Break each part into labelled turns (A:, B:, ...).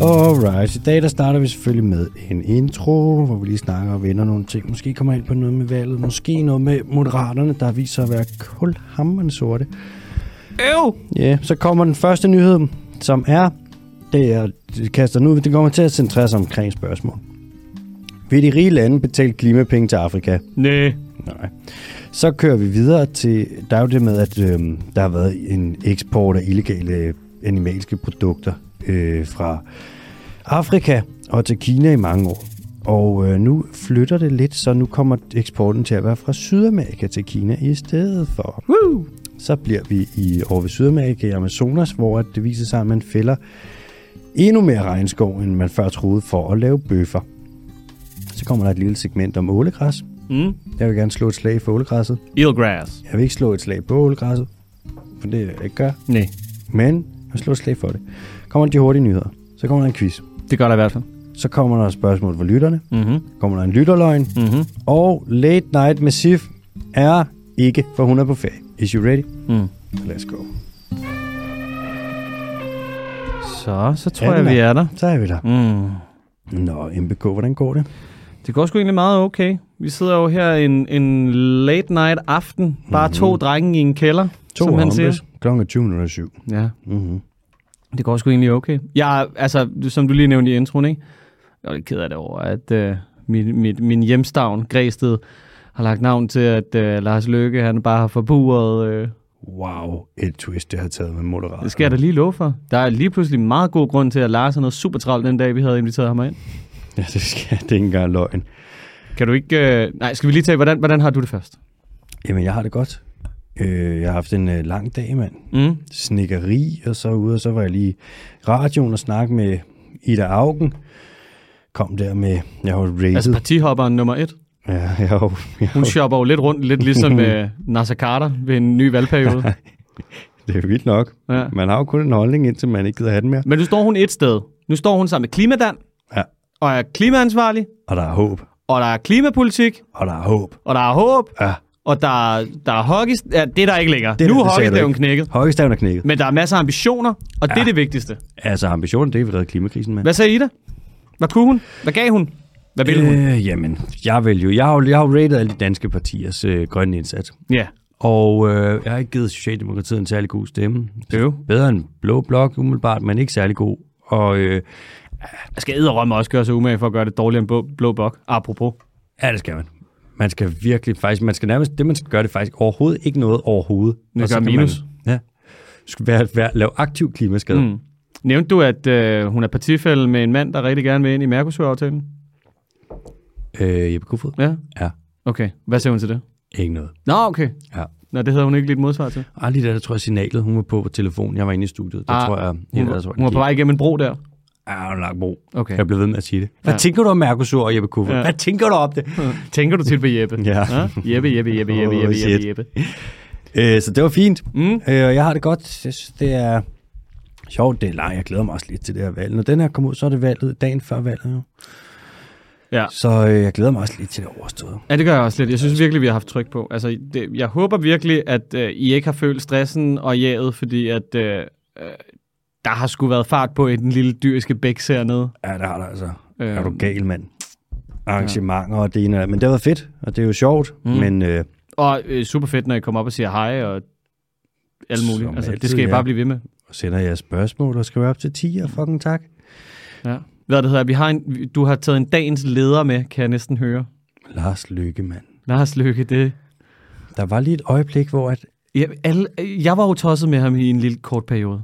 A: Alright, i dag der starter vi selvfølgelig med en intro, hvor vi lige snakker og vender nogle ting. Måske kommer ind på noget med valget, måske noget med moderaterne, der viser at være kulhammerne sorte.
B: Øv!
A: Ja, yeah. så kommer den første nyhed, som er, det er, det kaster nu, det kommer til at centrere sig omkring spørgsmål. Vil de rige lande betale klimapenge til Afrika?
B: Næh.
A: Nej. Så kører vi videre til, der er jo det med, at øh, der har været en eksport af illegale øh, animalske produkter øh, fra Afrika og til Kina i mange år. Og øh, nu flytter det lidt, så nu kommer eksporten til at være fra Sydamerika til Kina i stedet for.
B: Woo!
A: Så bliver vi i over ved Sydamerika i Amazonas, hvor at det viser sig, at man fælder endnu mere regnskov, end man før troede for at lave bøffer. Så kommer der et lille segment om ålegræs.
B: Mm.
A: Jeg vil gerne slå et slag for ålegræsset.
B: Eelgrass.
A: Jeg vil ikke slå et slag på ålegræsset, for det er det, jeg ikke gør.
B: Næh.
A: Men jeg vil slå et slag for det. Kommer de hurtige nyheder. Så kommer der en quiz.
B: Det gør der i hvert fald.
A: Så kommer der et spørgsmål fra lytterne.
B: Mhm.
A: Kommer der en lytterløgn.
B: Mhm.
A: Og Late Night med Sif er ikke, for hun er på ferie. Is you ready?
B: Mm.
A: Let's go.
B: Så, så tror
A: Ja,
B: ja, jeg,
A: den er.
B: vi er der.
A: Så er vi der.
B: Mm.
A: Nå, MBK, hvordan går det?
B: Det går sgu egentlig meget okay. Vi sidder jo her en, en late night aften. Bare to drenge i en kælder,
A: To
B: som han siger.
A: hombres. Klokken er 20.07.
B: Ja,
A: Mm-hmm.
B: det går sgu egentlig okay. Jeg, er- altså, som du lige nævnte i introen, ikke? Jeg er lidt ked af det over, at øh, min, mit, min hjemstavn, Græsted, har lagt navn til, at øh, Lars Løkke, han bare har forburet... Øh,
A: Wow, et twist, det har taget med moderat.
B: Det skal jeg da lige love for. Der er lige pludselig meget god grund til, at Lars har noget super travlt den dag, vi havde inviteret ham ind.
A: Ja, det skal Det er ikke engang løgn.
B: Kan du ikke... Øh... Nej, skal vi lige tage, hvordan, hvordan har du det først?
A: Jamen, jeg har det godt. Øh, jeg har haft en øh, lang dag, mand.
B: Mm.
A: snikkeri og så ude, og så var jeg lige i radioen og snakke med Ida Augen. Kom der med, jeg har jo rated.
B: Altså
A: Altså,
B: partihopperen nummer et.
A: ja, jeg har, jo- jeg har,
B: Hun
A: jo-
B: shopper jo lidt rundt, lidt ligesom øh, Nasser Carter ved en ny valgperiode.
A: det er jo vildt nok.
B: Ja.
A: Man har jo kun en holdning, indtil man ikke gider have den mere.
B: Men nu står hun et sted. Nu står hun sammen med Klimadan,
A: Ja.
B: og er klimaansvarlig,
A: Og der er håb.
B: og der er klimapolitik,
A: Og der er håb.
B: og der er håb,
A: Ja,
B: og der, er- der er hockey... Ja, det er der ikke længere.
A: Det er
B: Det, nu
A: der-
B: er
A: det sagde du
B: hockeystaven
A: ikke.
B: knækket.
A: højestaven er knækket.
B: Men der er masser af ambitioner, og ja. det er det vigtigste.
A: Altså ambitionen, det er vi redde klimakrisen med.
B: Hvad sagde Ida? Hvad kunne hun? Hvad gav hun? Hvad ville hun?
A: Øh, jamen, jeg vil jo. Jeg har jo, jeg har jo rated alle de danske partiers øh, grønne indsats.
B: Ja.
A: Og øh, jeg har ikke givet Socialdemokratiet en særlig god stemme.
B: Øv.
A: Bedre end Blå Blok, umiddelbart, men ikke særlig god. Og øh,
B: Jeg skal edderrømme også gøre sig umage for at gøre det dårligere end blå, blå bok. Apropos.
A: Ja, det skal man. Man skal virkelig faktisk, man skal nærmest, det man skal gøre, det er faktisk overhovedet ikke noget overhovedet.
B: Det
A: Og så
B: gør
A: kan
B: minus.
A: Man, ja. Skal være, være, lave aktiv klimaskade. Mm.
B: Mm. Nævnte du, at øh, hun er partifælde med en mand, der rigtig gerne vil ind i Mercosur-aftalen?
A: Øh, Jeppe Kofod?
B: Ja?
A: Ja.
B: Okay. Hvad siger hun til det?
A: Ikke noget.
B: Nå, okay.
A: Ja.
B: Nå, det havde hun ikke lidt modsvar til.
A: Ah, lige der, der tror jeg signalet, hun var på på telefonen. Jeg var inde i studiet. Der
B: Ah,
A: ah, tror jeg,
B: Hun,
A: ellers var
B: hun var på vej igennem en bro der.
A: Ja, Ah, hun lang bro.
B: Okay.
A: Jeg blev ved med at sige det. Hvad
B: Ja.
A: ja. tænker du om Mercosur og Jeppe Kofod?
B: Ja.
A: Ja. Hvad tænker du om det?
B: Tænker du tit på Jeppe?
A: Ja.
B: Jeppe, Jeppe, Jeppe, Jeppe,
A: Oh,
B: Jeppe, Jeppe,
A: shit.
B: Jeppe.
A: Øh, så det var fint.
B: Mm.
A: Øh, og jeg har det godt. Jeg synes, det er sjovt. Det er langt. Jeg glæder mig også lidt til det her valg. Når den her kommer ud, så er det valget dagen før valget. Jo.
B: Ja.
A: Så øh, jeg glæder mig også lidt til det overstået.
B: Ja, det gør jeg også lidt. Jeg synes virkelig, vi har haft tryk på. Altså, det, jeg håber virkelig, at øh, I ikke har følt stressen og jaget, fordi at, øh, øh, der har sgu været fart på i den lille dyriske bæks hernede.
A: Ja, det har der altså.
B: Øh,
A: Er du gal, mand? Arrangementer og det ene og det andet. Men det har været fedt, og det er jo sjovt. Mm. Men øh,
B: Og øh, super fedt, når I kommer op og siger hej og alt muligt.
A: Som
B: altså, det
A: altid,
B: skal I
A: ja.
B: bare blive ved med.
A: sender jeg spørgsmål og skriver op til 10, og fucking tak.
B: Ja. Hvad det hedder, vi har en, vi- du har taget en dagens leder med, kan jeg næsten høre.
A: Lars Lykke, mand.
B: Lars Lykke, det...
A: Der var lige et øjeblik, hvor at...
B: Ja, alle, jeg var jo tosset med ham i en lille kort periode.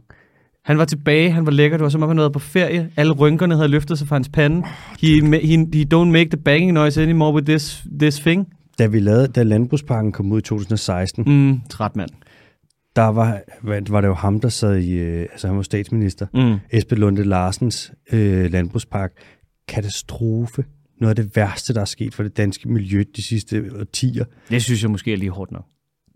B: Han var tilbage, han var lækker, det var som om han havde været på ferie. Alle rynkerne havde løftet sig fra hans pande. He, ma- he, he don't make the banging noise anymore with this, this thing.
A: Da, vi lavede, da Landbrugsparken kom ud i 2016, mm.
B: Mm, træt mand.
A: der var, hvad- var det jo ham, der sad i... Øh, altså, han var statsminister.
B: Mm.
A: Esben Lunde Larsens øh, landbrugspark. Katastrofe. Noget af det værste, der er sket for det danske miljø de sidste årtier.
B: Det synes jeg måske er lige hårdt nok.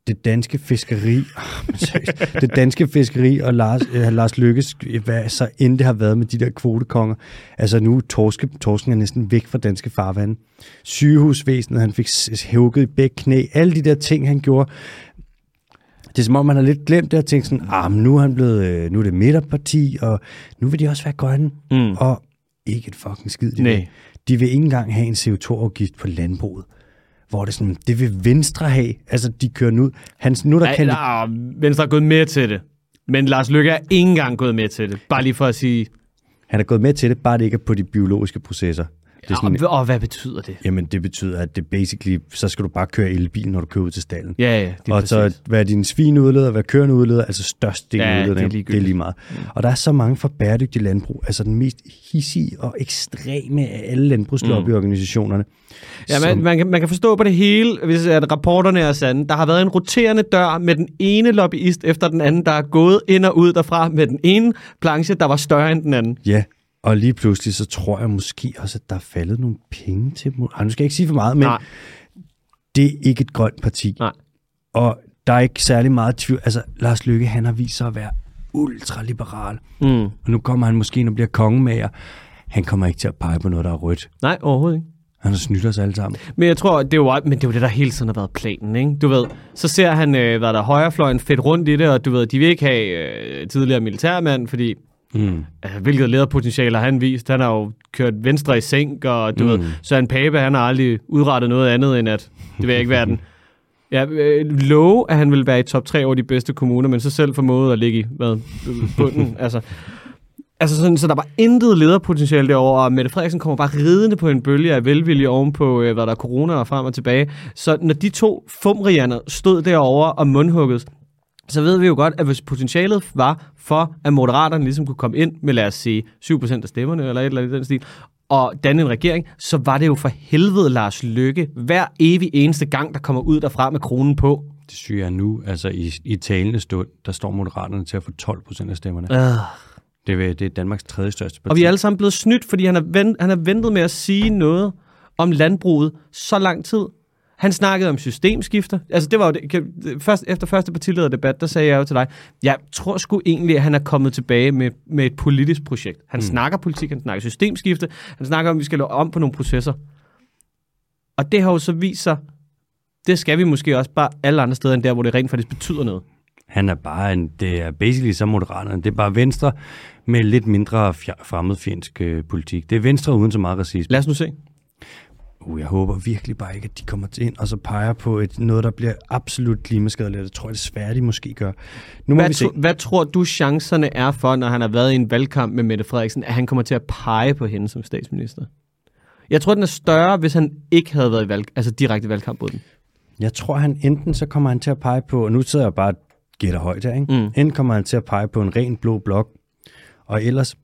A: det danske fiskeri, Ah, men seriøst. det danske fiskeri og Lars, øh, Lars Lykkes, hvad så end det har været med de der kvotekonger. Altså nu er torske, torsken er næsten væk fra danske farvande. Sygehusvæsenet, han fik hævket i begge knæ. Alle de der ting, han gjorde. Det er som om, man har lidt glemt det og tænkt sådan, ah, men nu er, han blevet, øh, nu er det midterparti, og nu vil de også være grønne.
B: Mm.
A: Og ikke et fucking skid. De,
B: Nej.
A: vil. de vil ikke engang have en CO2-afgift på landbruget. Hvor det er sådan, det vil Venstre have. Altså, de kører nu. Hans, nu er der
B: Nej,
A: kan
B: nej, Venstre er gået med til det. Men Lars Lykke er ikke engang gået med til det. Bare lige for at sige,
A: han er gået med til det, bare det ikke er på de biologiske processer. Det er sådan,
B: og, og hvad betyder det?
A: Jamen, det betyder, at det basically, så skal du bare køre elbil, når du kører ud til stallen.
B: Ja, ja, det er
A: og
B: præcis.
A: så, hvad din svin udleder, hvad køerne udleder, altså størstdelen
B: Ja,
A: ja, udleder,
B: det er
A: det er, det er
B: ligegyldigt. Mm.
A: lige meget. Og der er så mange for bæredygtig landbrug, altså den mest hissige og ekstreme af alle landbrugslobbyorganisationerne.
B: Ja, man, man, kan, man kan forstå på det hele, hvis at rapporterne er sande. Der har været en roterende dør med den ene lobbyist efter den anden, der er gået ind og ud derfra med den ene planche, der var større end den anden.
A: Ja, og lige pludselig, så tror jeg måske også, at der er faldet nogle penge til dem. Ah, nu skal jeg ikke sige for meget, men
B: Nej.
A: Nej. det er ikke et grønt parti.
B: Nej.
A: Og der er ikke særlig meget tvivl. Altså, Lars Lykke, han har vist sig at være ultraliberal.
B: Mm.
A: Og nu kommer han måske ind og bliver kongemager. Han kommer ikke til at pege på noget, der er rødt.
B: Nej, overhovedet ikke.
A: Han har snydt os alle sammen.
B: Men jeg tror, det er jo, men det, er jo det, der hele tiden har været planen, ikke? Du ved, så ser han, øh, hvad der er, højrefløjen fedt rundt i det, og du ved, de vil ikke have øh, tidligere militærmand, fordi
A: Mm.
B: altså, hvilket lederpotentiale har han vist? Han har jo kørt venstre i sænk, og du mm. ved, Søren Pape, han har aldrig udrettet noget andet end at, det vil jeg ikke være den. Ja, øh, love, at han vil være i top 3 over de bedste kommuner, men så selv formået at ligge i hvad, øh, bunden. altså, altså sådan, så der var intet lederpotentiale derovre, og Mette Frederiksen kommer bare ridende på en bølge af velvilje ovenpå, øh, hvad der er corona og frem og tilbage. Så når de to fumrianer stod derovre og mundhuggede, så ved vi jo godt, at hvis potentialet var for, at moderaterne ligesom kunne komme ind med, lad os sige, 7% af stemmerne eller et eller andet i den stil, og danne en regering, så var det jo for helvede Lars Lykke hver evig eneste gang, der kommer ud derfra med kronen på.
A: Det syge er nu, altså i, i talende stund, der står Moderaterne til at få 12 procent af stemmerne.
B: Øh.
A: Det, er, det er Danmarks tredje største parti.
B: Og vi er alle sammen blevet snydt, fordi han har, vent, han har ventet med at sige noget om landbruget så lang tid. Han snakkede om systemskifter. Altså, det var jo det. kan- det- Først, efter første partilederdebat, der sagde jeg jo til dig, jeg tror sgu egentlig, at han er kommet tilbage med, med et politisk projekt. Han mm. snakker politik, han snakker systemskifte, han snakker om, at vi skal lave om på nogle processer. Og det har jo så vist sig, det skal vi måske også bare alle andre steder end der, hvor det rent faktisk betyder noget.
A: Han er bare en, det er basically som Moderaterne. Det er bare Venstre med lidt mindre fjer- fremmedfjendsk øh, politik. Det er Venstre uden så meget racisme.
B: Lad os nu se.
A: Uh, jeg håber virkelig bare ikke, at de kommer til ind og så peger på et, noget, der bliver absolut klimaskadeligt. Det tror jeg desværre, de måske gør. Nu må
B: Hvad,
A: vi se.
B: tro, hvad tror du chancerne er for, når han har været i en valgkamp med Mette Frederiksen, at han kommer til at pege på hende som statsminister? Jeg tror, den er større, hvis han ikke havde været i valg, altså direkte valgkamp mod den.
A: Jeg tror, han enten så kommer han til at pege på, og nu sidder jeg bare og gætter højt her, ikke? Mm. enten kommer han til at pege på en ren blå blok, og ellers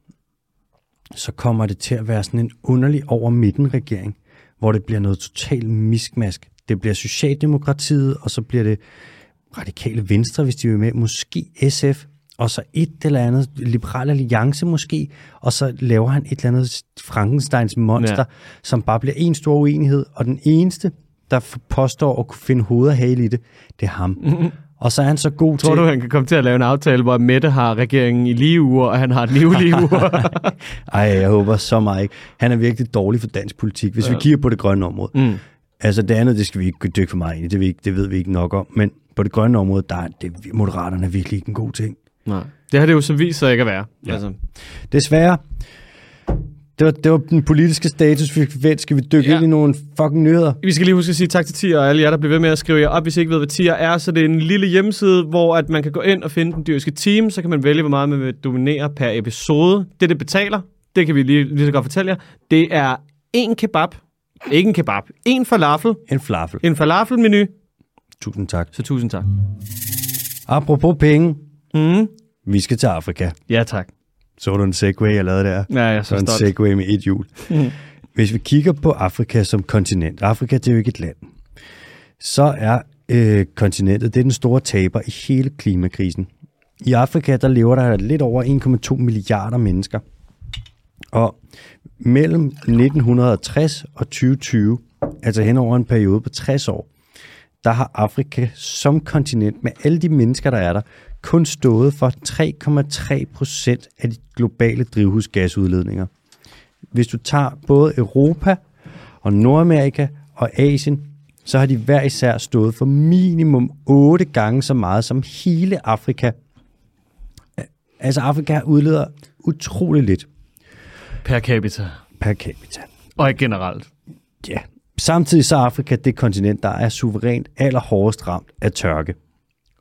A: så kommer det til at være sådan en underlig over midten regering, hvor det bliver noget totalt miskmask. Det bliver Socialdemokratiet, og så bliver det radikale venstre, hvis de er med, måske SF, og så et eller andet liberal alliance måske, og så laver han et eller andet Frankensteins monster,
B: Ja.
A: ja. som bare bliver en stor uenighed, og den eneste, der f- påstår at kunne finde hoved og hale i det, det er ham. Mm-hmm. Og så er han så god
B: Tror
A: til...
B: du, han kan komme til at lave en aftale, hvor Mette har regeringen i lige uger, og han har den i ulige uger?
A: Ej, jeg håber så meget ikke. Han er virkelig dårlig for dansk politik, hvis ja. vi kigger på det grønne område. Mm. Altså det andet, det skal vi ikke dykke for meget ind i, det, ved vi ikke, det ved vi ikke nok om, men på det grønne område, der er det, moderaterne er virkelig ikke en god ting.
B: Nej. Det har det jo så vist sig ikke at være. Ja. Altså,
A: Desværre, det var, det var den politiske status, vi fik vendt. Skal vi dykke
B: Ja.
A: ja. ind i nogle fucking nyheder?
B: Vi skal lige huske at sige tak til Tier og alle jer, der bliver ved med at skrive jer op, hvis I ikke ved, hvad Tier er. Så det er en lille hjemmeside, hvor at man kan gå ind og finde den dyriske team. Så kan man vælge, hvor meget man vil dominere per episode. Det, det betaler, det kan vi lige, lige så godt fortælle jer. Det er en kebab. Ikke en kebab. En falafel.
A: En flaffel.
B: En falafelmenu.
A: Tusind tak.
B: Så tusind tak.
A: Apropos penge,
B: Mm.
A: vi skal til Afrika.
B: Ja, tak.
A: Så du en segway, jeg lavede der?
B: Ja, jeg er
A: Så
B: så
A: en
B: altså stolt.
A: segway med et hjul. Hvis vi kigger på Afrika som kontinent, Afrika det er jo ikke et land, så er øh, kontinentet det er den store taber i hele klimakrisen. I Afrika der lever der lidt over 1,2 milliarder mennesker. Og mellem 1960 og 2020, altså hen over en periode på 60 år, der har Afrika som kontinent med alle de mennesker, der er der, kun stået for 3,3 procent af de globale drivhusgasudledninger. Hvis du tager både Europa og Nordamerika og Asien, så har de hver især stået for minimum 8 gange så meget som hele Afrika. Altså Afrika udleder utrolig lidt
B: Per capita.
A: per capita.
B: Og ikke generelt.
A: Ja. Samtidig så er Afrika det kontinent, der er suverænt allerhårdest ramt af tørke.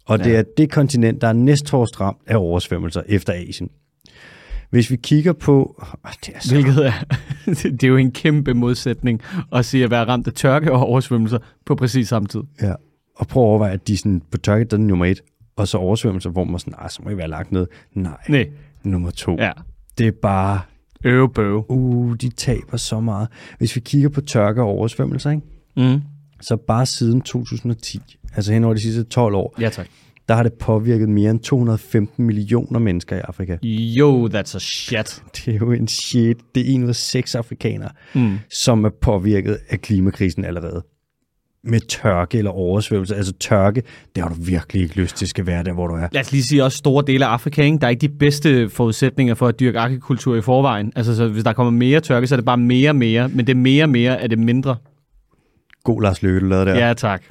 A: Og det
B: Ja.
A: er det kontinent, der er næsthårdest ramt af oversvømmelser efter Asien. Hvis vi kigger på... Oh, det er så
B: Hvilket er, det er jo en kæmpe modsætning at sige at være ramt af tørke og oversvømmelser på præcis samme tid.
A: Ja. Og prøv at overveje, at de sådan, på tørket, der er den nummer et, og så oversvømmelser, hvor man er sådan, nej, så må I være lagt ned. Nej,
B: Nej,
A: nummer to.
B: ja.
A: Det er bare,
B: Øve bøve.
A: uh, de taber så meget. Hvis vi kigger på tørke og oversvømmelser, ikke?
B: Mm.
A: så bare siden 2010, altså hen over de sidste 12 år,
B: Ja tak.
A: der har det påvirket mere end 215 millioner mennesker i Afrika.
B: Yo, that's a shit.
A: Det er jo en shit. Det er en ud af seks afrikanere,
B: Mm.
A: som er påvirket af klimakrisen allerede. Med tørke eller oversvømmelse. Altså tørke, det har du virkelig ikke lyst til skal være der, hvor du er.
B: Lad os lige sige også store dele af Afrika, ikke? der er ikke de bedste forudsætninger for at dyrke agrikultur i forvejen. Altså så hvis der kommer mere tørke, så er det bare mere mere, men det er mere mere, er det mindre.
A: God Lars Løkke, du lavede der.
B: Ja, ja tak.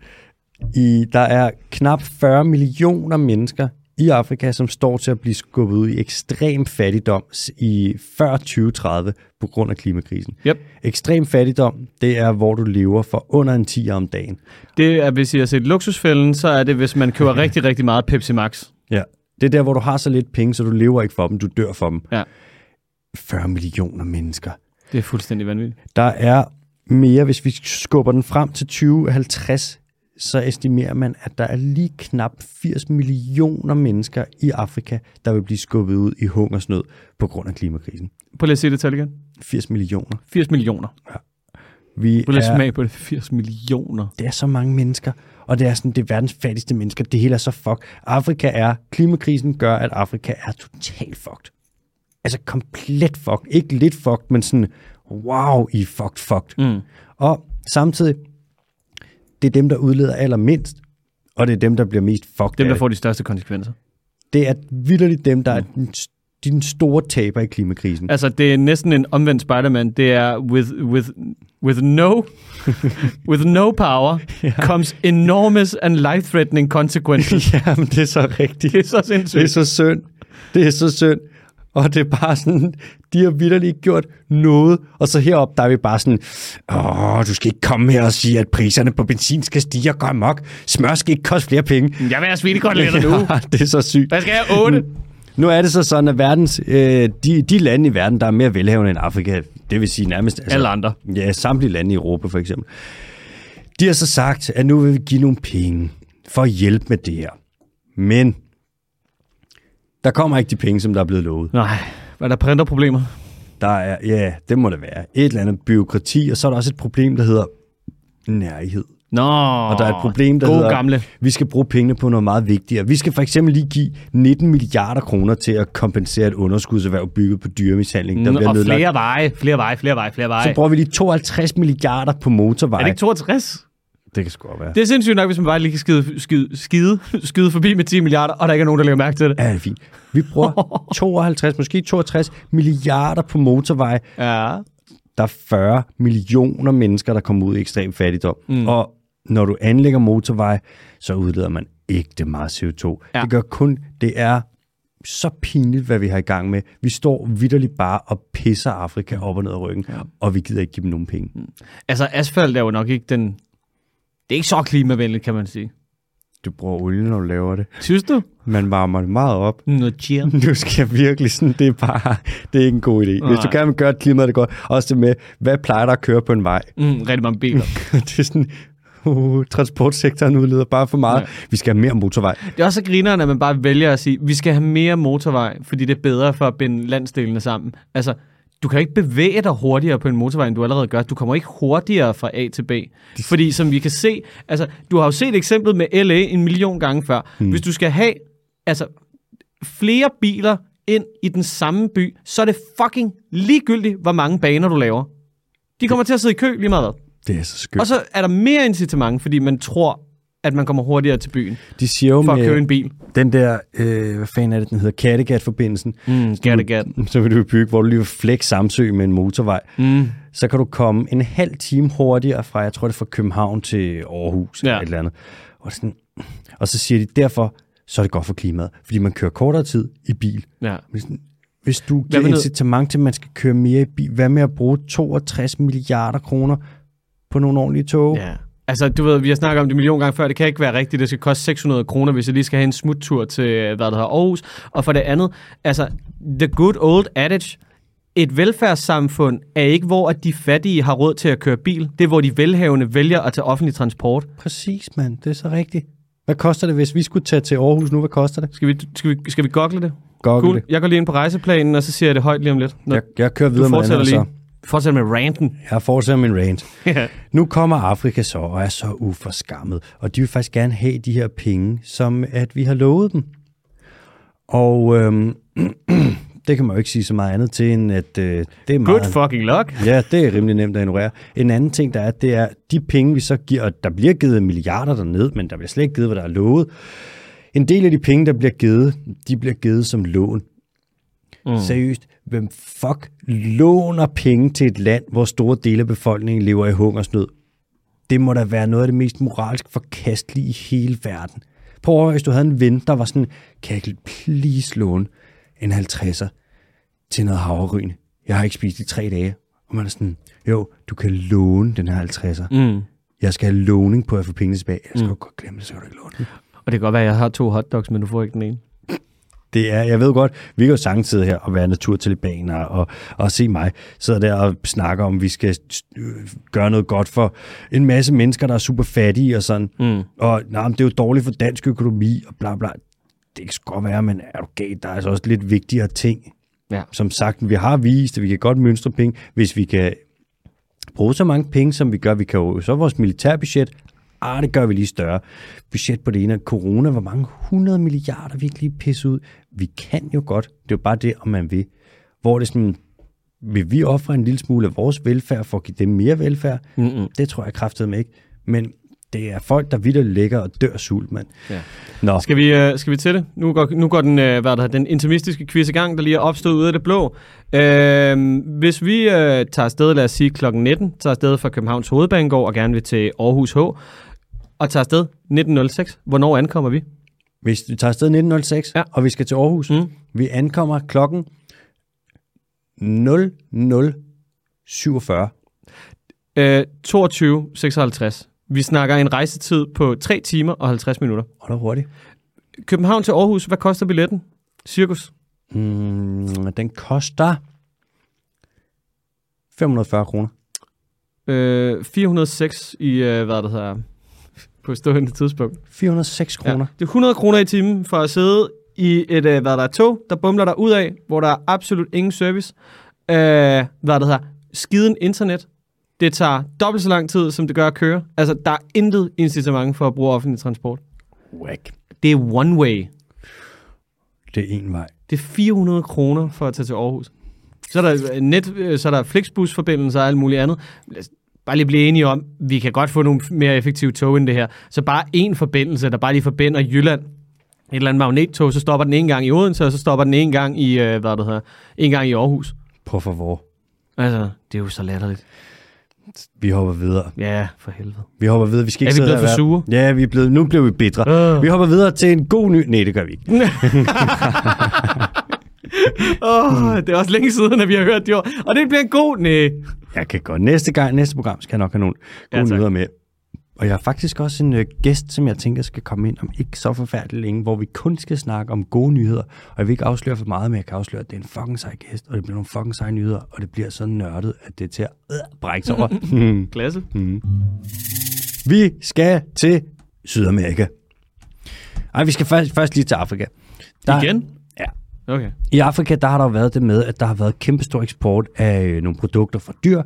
A: I, der er knap 40 millioner mennesker i Afrika, som står til at blive skubbet ud i ekstrem fattigdom s- i før 2030 på grund af klimakrisen.
B: Yep.
A: Ekstrem fattigdom, det er, hvor du lever for under en 10 om dagen.
B: Det er, hvis I har set luksusfælden, så er det, hvis man køber rigtig, rigtig meget Pepsi Max.
A: Ja. Det er der, hvor du har så lidt penge, så du lever ikke for dem, du dør for dem.
B: Ja.
A: 40 millioner mennesker.
B: Det er fuldstændig vanvittigt.
A: Der er mere, hvis vi skubber den frem til 2050, så estimerer man, at der er lige knap 80 millioner mennesker i Afrika, der vil blive skubbet ud i hungersnød på grund af klimakrisen.
B: Prøv lige at sige det tal igen.
A: 80 millioner.
B: 80 millioner.
A: Vi
B: Prøv lige at
A: er,
B: smage på det. 80 millioner.
A: det er så mange mennesker, og det er sådan, det er verdens fattigste mennesker. Det hele er så fuck. Afrika er, klimakrisen gør, at Afrika er totalt fucked. Altså komplet fucked. Ikke lidt fucked, men sådan, wow, I er fucked, fucked.
B: Mm.
A: Og samtidig, det er dem, der udleder allermindst, og det er dem, der bliver mest fucked
B: Dem,
A: af
B: der
A: det.
B: får Mm. de største konsekvenser.
A: Det er vidderligt dem, der er den, de er den store taber i klimakrisen.
B: Altså, det er næsten en omvendt Spider-Man. Det er with, with, with no, with no power comes enormous and life-threatening consequences.
A: Ja, men det er så rigtigt.
B: det er så
A: Det er
B: sindssygt.
A: så synd. Det er så synd. Og det er bare sådan, de har vidderligt ikke gjort noget. Og så heroppe, der er vi bare sådan, åh, du skal ikke komme her og sige, at priserne på benzin skal stige og gå amok. Smør skal ikke koste flere penge.
B: Jeg vil have svinekoteletter nu.
A: det er så sygt.
B: Hvad skal jeg? 8?
A: Nu er det så sådan, at verdens, øh, de, de lande i verden, der er mere velhavende end Afrika, det vil sige nærmest... Altså,
B: Alle andre.
A: Ja, samtlige lande i Europa for eksempel. De har så sagt, at nu vil vi give nogle penge for at hjælpe med det her. Men der kommer ikke de penge, som der er blevet lovet.
B: Nej, var der printerproblemer?
A: Der er, ja, det må det være. Et eller andet byråkrati, og så er der også et problem, der hedder nærhed.
B: Nå,
A: Og der er et problem, der
B: gode
A: hedder,
B: gamle.
A: vi skal bruge pengene på noget meget vigtigere. Vi skal for eksempel lige give 19 milliarder kroner til at kompensere et underskudserhverv bygget på dyremishandling, der
B: Mm,
A: bliver
B: Og
A: nedlagt.
B: flere veje, flere veje, flere veje, flere veje.
A: Så bruger vi lige 52 milliarder på motorveje.
B: er det ikke 62?
A: det kan sgu godt være.
B: Det er sindssygt nok, hvis man bare lige kan skide, skide, skide, skyde forbi med 10 milliarder, og der ikke er nogen, der lægger mærke til det.
A: Ja, det er fint. Vi bruger 52, måske 62 milliarder på motorveje.
B: Ja.
A: Der er 40 millioner mennesker, der kommer ud i ekstrem fattigdom. Mm. Og når du anlægger motorveje, så udleder man ikke det meget CO2. Ja.
B: Ja.
A: Det gør kun, det er så pinligt, hvad vi har i gang med. Vi står vidderligt bare og pisser Afrika op og ned ad ryggen, ja. Mm. og vi gider ikke give dem nogen penge.
B: Altså, asfalt er jo nok ikke den... Det er ikke så klimavenligt, kan man sige.
A: Du bruger olie, når du laver det.
B: Synes du?
A: Man varmer det meget op,
B: Noget cheer.
A: Nu skal jeg virkelig sådan, det er bare, det er ikke en god idé. Nej. Hvis du
B: Nej.
A: gerne vil gøre at klimaet det godt, også det med, hvad plejer der at køre på en vej?
B: Mm, rigtig mange biler.
A: det er sådan, uh, transportsektoren udleder bare for meget. Nej. Vi skal have mere motorvej.
B: Det er også så grineren, at man bare vælger at sige, vi skal have mere motorvej, fordi det er bedre for at binde landsdelene sammen. Altså, du kan ikke bevæge dig hurtigere på en motorvej, end du allerede gør. Du kommer ikke hurtigere fra A til B. Fordi som vi kan se, altså, du har jo set eksemplet med LA en million gange før. Hvis du skal have altså, flere biler ind i den samme by, så er det fucking ligegyldigt, hvor mange baner du laver. De kommer til at sidde i kø lige meget. hvad.
A: Det er så skørt.
B: Og så er der mere incitament, fordi man tror, at man kommer hurtigere til byen
A: De siger jo
B: for at
A: med
B: købe en bil.
A: den der, øh, hvad fanden er det, den hedder, Kattegat-forbindelsen,
B: Mm, Kattegat.
A: så vil du bygge, hvor du lige vil flække Samsø med en motorvej.
B: Mm.
A: så kan du komme en halv time hurtigere fra, jeg tror det er fra København til Aarhus ja. eller
B: Ja.
A: et eller andet. Og, det er sådan, og så siger de, derfor så er det godt for klimaet, fordi man kører kortere tid i bil.
B: Ja.
A: Men sådan, Hvis du
B: Hvad
A: giver
B: med noget-
A: incitament til, at man skal køre mere i bil, hvad med at bruge 62 milliarder kroner på nogle ordentlige tog?
B: ja. Altså, du ved, vi har snakket om det en million gange før. Det kan ikke være rigtigt. Det skal koste 600 kroner, hvis jeg lige skal have en smuttur til, hvad det hedder, Aarhus. Og for det andet, altså, the good old adage, et velfærdssamfund er ikke, hvor at de fattige har råd til at køre bil. Det er, hvor de velhavende vælger at tage offentlig transport.
A: Præcis, mand. Det er så rigtigt. Hvad koster det, hvis vi skulle tage til Aarhus nu? Hvad koster det?
B: Skal vi, skal vi, skal vi gogle det?
A: Google
B: Cool.
A: det.
B: Jeg går lige ind på rejseplanen, og så siger jeg det højt lige om lidt. Nå,
A: Jeg, jeg kører videre
B: du
A: med den
B: fortsætter
A: her, så.
B: lige. Fortsætter med ranten.
A: Jeg fortsætter min rant. Nu kommer Afrika så og er så uforskammet, og de vil faktisk gerne have de her penge, som at vi har lovet dem. Og øhm, det kan man jo ikke sige så meget andet til, end at øh, det er meget...
B: Good fucking luck.
A: Ja, det er rimelig nemt at ignorere. En anden ting, der er, det er, de penge, vi så giver, og der bliver givet milliarder derned, men der bliver slet ikke givet, hvad der er lovet. En del af de penge, der bliver givet, de bliver givet som lån. Mm. Seriøst, hvem fuck låner penge til et land, hvor store dele af befolkningen lever i hungersnød? Det må da være noget af det mest moralsk forkastelige i hele verden. Prøv at høre, hvis du havde en ven, der var sådan, kan jeg ikke please låne en 50'er? til noget havregryn. Jeg har ikke spist i tre dage. Og man er sådan, jo, du kan låne den her 50'er.
B: Mm.
A: Jeg skal have låning på at få pengene tilbage. Jeg skal mm. godt glemme det, så kan du ikke låne den.
B: Og det kan godt være, at jeg har to hotdogs, men du får ikke den ene.
A: Det er, jeg ved godt, vi kan jo sagtens sidde her og være naturtalibaner og, og se mig sidde der og snakke om, at vi skal øh, gøre noget godt for en masse mennesker, der er super fattige og sådan. Mm. Og nej, men det er jo dårligt for dansk økonomi og bla bla. Det kan sgu godt være, men er du gal? Der er altså også lidt vigtigere ting.
B: Ja.
A: Som sagt, vi har vist, at vi kan godt mønstre penge, hvis vi kan bruge så mange penge, som vi gør. Vi kan jo så vores militærbudget, ah, det gør vi lige større. Budget på det ene, corona, hvor mange 100 milliarder vi ikke lige pisse ud. Vi kan jo godt, det er jo bare det, om man vil. Hvor det er sådan, vil vi ofre en lille smule af vores velfærd for at give dem mere velfærd? Mm-mm. Det tror jeg kraftedeme ikke. Men det er folk, der vidt ligger og dør af sult, mand.
B: Ja.
A: Nå,
B: Skal vi, øh, skal vi til det? Nu går, nu går den, øh, hvad der, den intimistiske quiz i gang, der lige er opstået ude af det blå. Øh, hvis vi øh, tager afsted, lad os sige kl. 19, tager afsted fra Københavns Hovedbanegård og gerne vil til Aarhus H, og tager afsted 1906, hvornår ankommer vi?
A: hvis vi tager afsted 1906, ja.
B: Ja.
A: og vi skal til Aarhus, mm. vi ankommer klokken 0047.
B: Øh, 22.56. Vi snakker en rejsetid på 3 timer og 50 minutter.
A: Og der hurtigt.
B: København til Aarhus, hvad koster billetten? Cirkus.
A: Mm, den koster 540 kroner.
B: Øh, 406 i, øh, hvad det hedder, på stående tidspunkt.
A: 406 kroner.
B: Ja, det er 100 kroner i timen for at sidde i et, øh, hvad der er, tog, der bumler dig ud af, hvor der er absolut ingen service. Øh, hvad der hedder, skiden internet. Det tager dobbelt så lang tid, som det gør at køre. Altså, der er intet incitament for at bruge offentlig transport.
A: Ja. Whack.
B: Det er one way.
A: Det er en vej.
B: Det er 400 kroner for at tage til Aarhus. Så er der, øh, net, øh, så er der flexbusforbindelser og alt muligt andet. Lad os bare lige blive enige om, vi kan godt få nogle mere effektive tog end det her. Så bare en forbindelse, der bare lige forbinder Jylland. Et eller andet magnettog, så stopper den en gang i Odense, og så stopper den en gang i, øh, hvad det hedder, en gang i Aarhus.
A: På favor.
B: Altså, det er jo så latterligt.
A: Vi hopper videre.
B: Ja, for helvede.
A: Vi hopper videre. Vi skal
B: Er
A: ikke
B: vi
A: sidde
B: blevet
A: her
B: for
A: og være- Ja, vi er blevet, nu bliver vi bitre.
B: Øh.
A: Vi hopper videre til en god ny... Nej, det gør vi ikke.
B: Åh, oh, det er også længe siden, at vi har hørt det ord. Og det bliver en god, nej.
A: Jeg kan godt. Næste gang, næste program, skal jeg nok have nogle
B: Ja,
A: gode
B: tak.
A: nyheder med. Og jeg har faktisk også en øh, gæst, som jeg tænker skal komme ind om ikke så forfærdeligt længe, hvor vi kun skal snakke om gode nyheder. Og jeg vil ikke afsløre for meget, men jeg kan afsløre, at det er en fucking sej gæst, og det bliver nogle fucking seje nyheder, og det bliver så nørdet, at det er til at øh, brække sig over. Hmm.
B: Klasse.
A: vi skal til Sydamerika. Ej, vi skal først, først lige til Afrika.
B: Igen?
A: Ja.
B: Okay.
A: I Afrika, der har der jo været det med, at der har været kæmpestor eksport af øh, nogle produkter fra dyr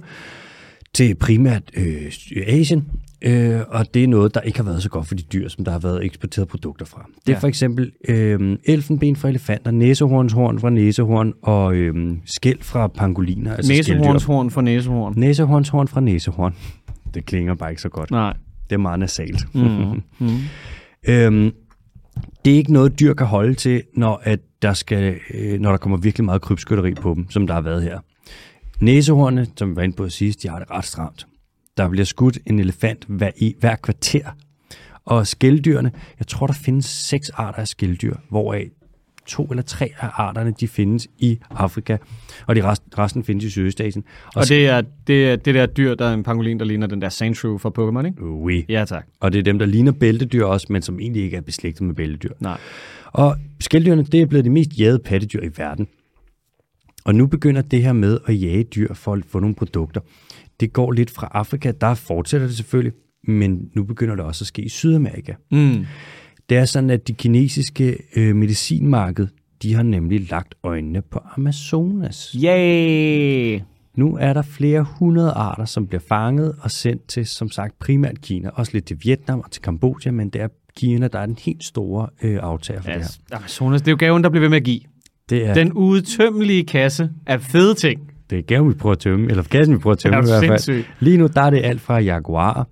A: til primært øh, Asien, øh, og det er noget, der ikke har været så godt for de dyr, som der har været eksporteret produkter fra. Det er ja.
B: Ja.
A: for eksempel øh, elfenben fra elefanter, næsehornshorn fra næsehorn og øh, skæld fra pangoliner, altså skælddyr.
B: Næsehornshorn for næsehorn.
A: Næsehornshorn fra næsehorn. Det klinger bare ikke så godt.
B: Nej.
A: Det er meget nasalt.
B: Mm. Mm.
A: Øhm, det er ikke noget, dyr kan holde til, når, at der, skal, øh, når der kommer virkelig meget krybskytteri på dem, som der har været her. Næsehornene, som vi var inde på sidst, de har det ret stramt. Der bliver skudt en elefant hver, i, hver kvarter. Og skældyrene, jeg tror, der findes seks arter af skælddyr, hvoraf to eller tre af arterne, de findes i Afrika, og de rest, resten findes i Sydøstasien. Og,
B: Og det er, det er det der dyr, der er en pangolin, der ligner den der Sandshrew fra Pokémon, ikke?
A: oui.
B: Ja, tak.
A: Og det er dem, der ligner bæltedyr også, men som egentlig ikke er beslægtet med bæltedyr.
B: Nej.
A: Og skældyrene, det er blevet de mest jagede pattedyr i verden. Og nu begynder det her med at jage dyr for at få nogle produkter. Det går lidt fra Afrika, der fortsætter det selvfølgelig, men nu begynder det også at ske i Sydamerika.
B: Mm.
A: Det er sådan, at de kinesiske øh, medicinmarked, de har nemlig lagt øjnene på Amazonas.
B: Yay!
A: Nu er der flere hundrede arter, som bliver fanget og sendt til, som sagt, primært Kina. Også lidt til Vietnam og til Kambodja, men det er Kina, der er den helt store øh, aftager for
B: Altså, Amazonas, det er jo gaven, der bliver ved med at give.
A: det her. Det er,
B: Den udtømmelige kasse af fede ting.
A: det er gaven, vi prøver at tømme, eller kassen, vi prøver at tømme
B: Ja,
A: i hvert fald.
B: sindssygt.
A: Lige nu, der er det alt fra jaguarer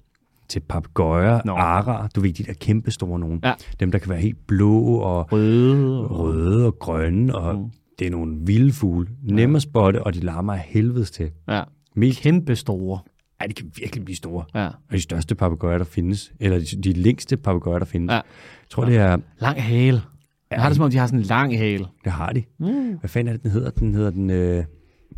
A: til papegøjer,
B: Nå.
A: arer, du ved, de der kæmpe store nogen.
B: Ja.
A: Dem, der kan være helt blå og
B: Røde.
A: røde og grønne, og mm. det er nogle vilde fugle. Nemme at spotte, og de larmer af helvedes til.
B: Ja.
A: Mest-
B: Kæmpe store.
A: Ja, de kan virkelig blive store.
B: Ja.
A: Og de største papegøjer, der findes, eller de, de længste papegøjer, der findes.
B: Ja.
A: Jeg tror, det er,
B: Lang hale. Jeg har det, som om de har sådan en lang hale.
A: det har de. Mm. Hvad fanden er det, den hedder? Den hedder den øh,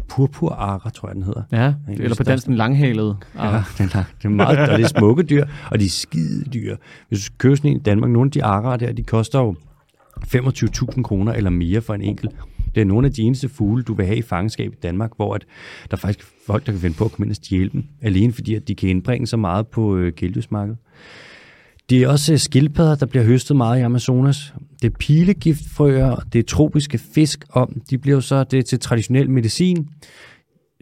A: purpurara, tror jeg, den hedder.
B: Ja,
A: det
B: eller på
A: største.
B: dansk den langhalede.
A: Ja, den er, det er meget, og det er smukke dyr, og de er skide dyr. Hvis du skal købe sådan en i Danmark, nogle af de arer der, de koster jo 25.000 kroner eller mere for en enkelt. Det er nogle af de eneste fugle, du vil have i fangenskab i Danmark, hvor at der er faktisk folk, der kan finde på at komme ind og stjæle dem, alene fordi at de kan indbringe så meget på øh, kæledyrsmarkedet. Det er også øh, skildpadder, der bliver høstet meget i Amazonas. Det er pilegiftfrøer, og det er tropiske fisk, og de bliver jo så det er til traditionel medicin.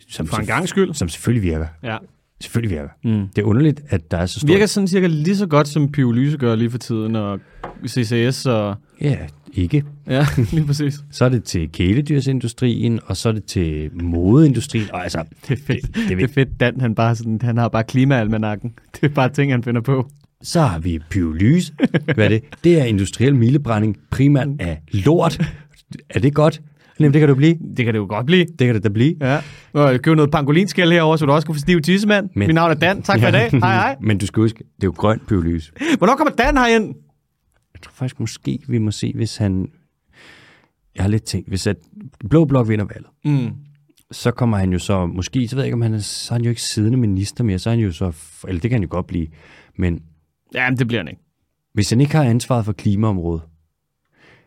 A: Som
B: For en gang skyld.
A: Som selvfølgelig virker.
B: Ja.
A: Selvfølgelig virker. Mm. Det er underligt, at der er så stor...
B: Virker sådan cirka lige så godt, som pyrolyse gør lige for tiden, og CCS og...
A: Ja, ikke.
B: Ja, lige præcis.
A: Så er det til kæledyrsindustrien, og så er det til modeindustrien. Og altså, det er fedt. Det, det er
B: Det er
A: fedt.
B: fedt, Dan, han, bare sådan, han har bare klimaalmanakken. Det er bare ting, han finder på.
A: Så har vi pyrolyse. Hvad er det? Det er industriel milebrænding, primært af lort. Er det godt? Jamen, det kan du blive.
B: Det kan det jo godt blive.
A: Det kan det da blive.
B: Ja. Og køb noget pangolinskæl herovre, så du også kan få stiv tissemand.
A: Men-
B: Mit navn er Dan. Tak for i dag. Hej, hej.
A: Men du skal huske, det er jo grøn pyrolyse.
B: Hvornår kommer Dan herind?
A: Jeg tror faktisk måske, vi må se, hvis han... Jeg har lidt tænkt, hvis at Blå Blok vinder valget,
B: Mm.
A: så kommer han jo så, måske, så ved jeg ikke, om han er, så er han jo ikke siddende minister mere, så er han jo så, eller det kan han jo godt blive, men
B: Jamen, det bliver han ikke.
A: hvis han ikke har ansvaret for klimaområdet,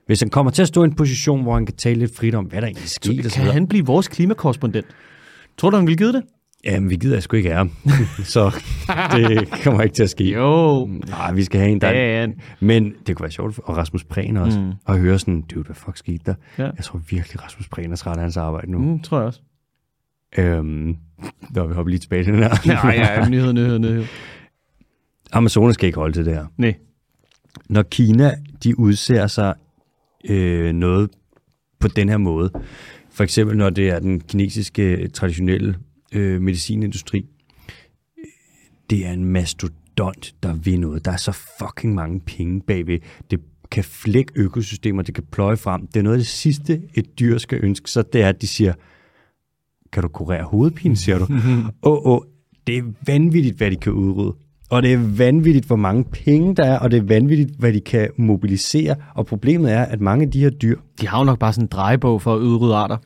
A: hvis han kommer til at stå i en position, hvor han kan tale lidt frit om, hvad der egentlig sker, og så
B: Kan
A: videre.
B: han blive vores klimakorrespondent? Tror du, han ville give det?
A: Jamen, vi gider sgu ikke af ham, så det kommer ikke til at ske.
B: Jo.
A: Nej, vi skal have en, der...
B: Dan.
A: Men det kunne være sjovt, og Rasmus Prehn også, mm. at høre sådan, dude, hvad fuck skete der?
B: Ja.
A: Jeg tror virkelig, Rasmus Prehn er træt af hans arbejde nu. Mm.
B: Mm, tror jeg også.
A: Øhm, der vi hopper lige tilbage til den her.
B: Nej, ja, nyhed, nyhed, nyhed.
A: Amazonas skal ikke holde til det her.
B: Nej.
A: når Kina de udser sig øh, noget på den her måde, for eksempel når det er den kinesiske traditionelle øh, medicinindustri, øh, det er en mastodont, der vil noget. Der er så fucking mange penge bagved. Det kan flække økosystemer, det kan pløje frem. Det er noget af det sidste, et dyr skal ønske sig, det er, at de siger, kan du kurere hovedpine, siger du? Åh, åh, det er vanvittigt, hvad de kan udrydde. Og det er vanvittigt, hvor mange penge der er, og det er vanvittigt, hvad de kan mobilisere. Og problemet er, at mange af de her dyr,
B: De har jo nok bare sådan en drejebog for at udrydde arter.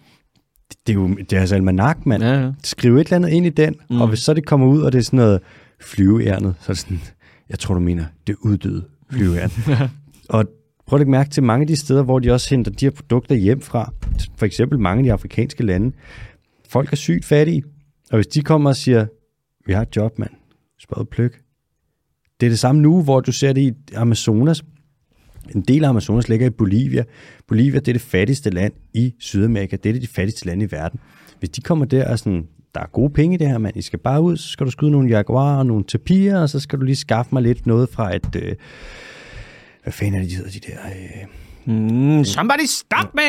A: det er jo deres almanak, mand.
B: Ja, ja.
A: Skriv et eller andet ind i den, mm. og hvis så det kommer ud, og det er sådan noget flyveærnet, så er det sådan, jeg tror, du mener, det uddøde flyveærnet. og prøv at lægge mærke til mange af de steder, hvor de også henter de her produkter hjem fra, for eksempel mange af de afrikanske lande, folk er sygt fattige, og hvis de kommer og siger, vi har et job, mand, spørg pløk. Det er det samme nu, hvor du ser det i Amazonas. En del af Amazonas ligger i Bolivia. Bolivia, det er det fattigste land i Sydamerika. Det er det de fattigste lande i verden. Hvis de kommer der og sådan, der er gode penge i det her, mand. I skal bare ud, så skal du skyde nogle jaguarer og nogle tapirer, og så skal du lige skaffe mig lidt noget fra et... Øh, hvad fanden er det, de hedder, de der... Øh,
B: Mm, somebody stop me!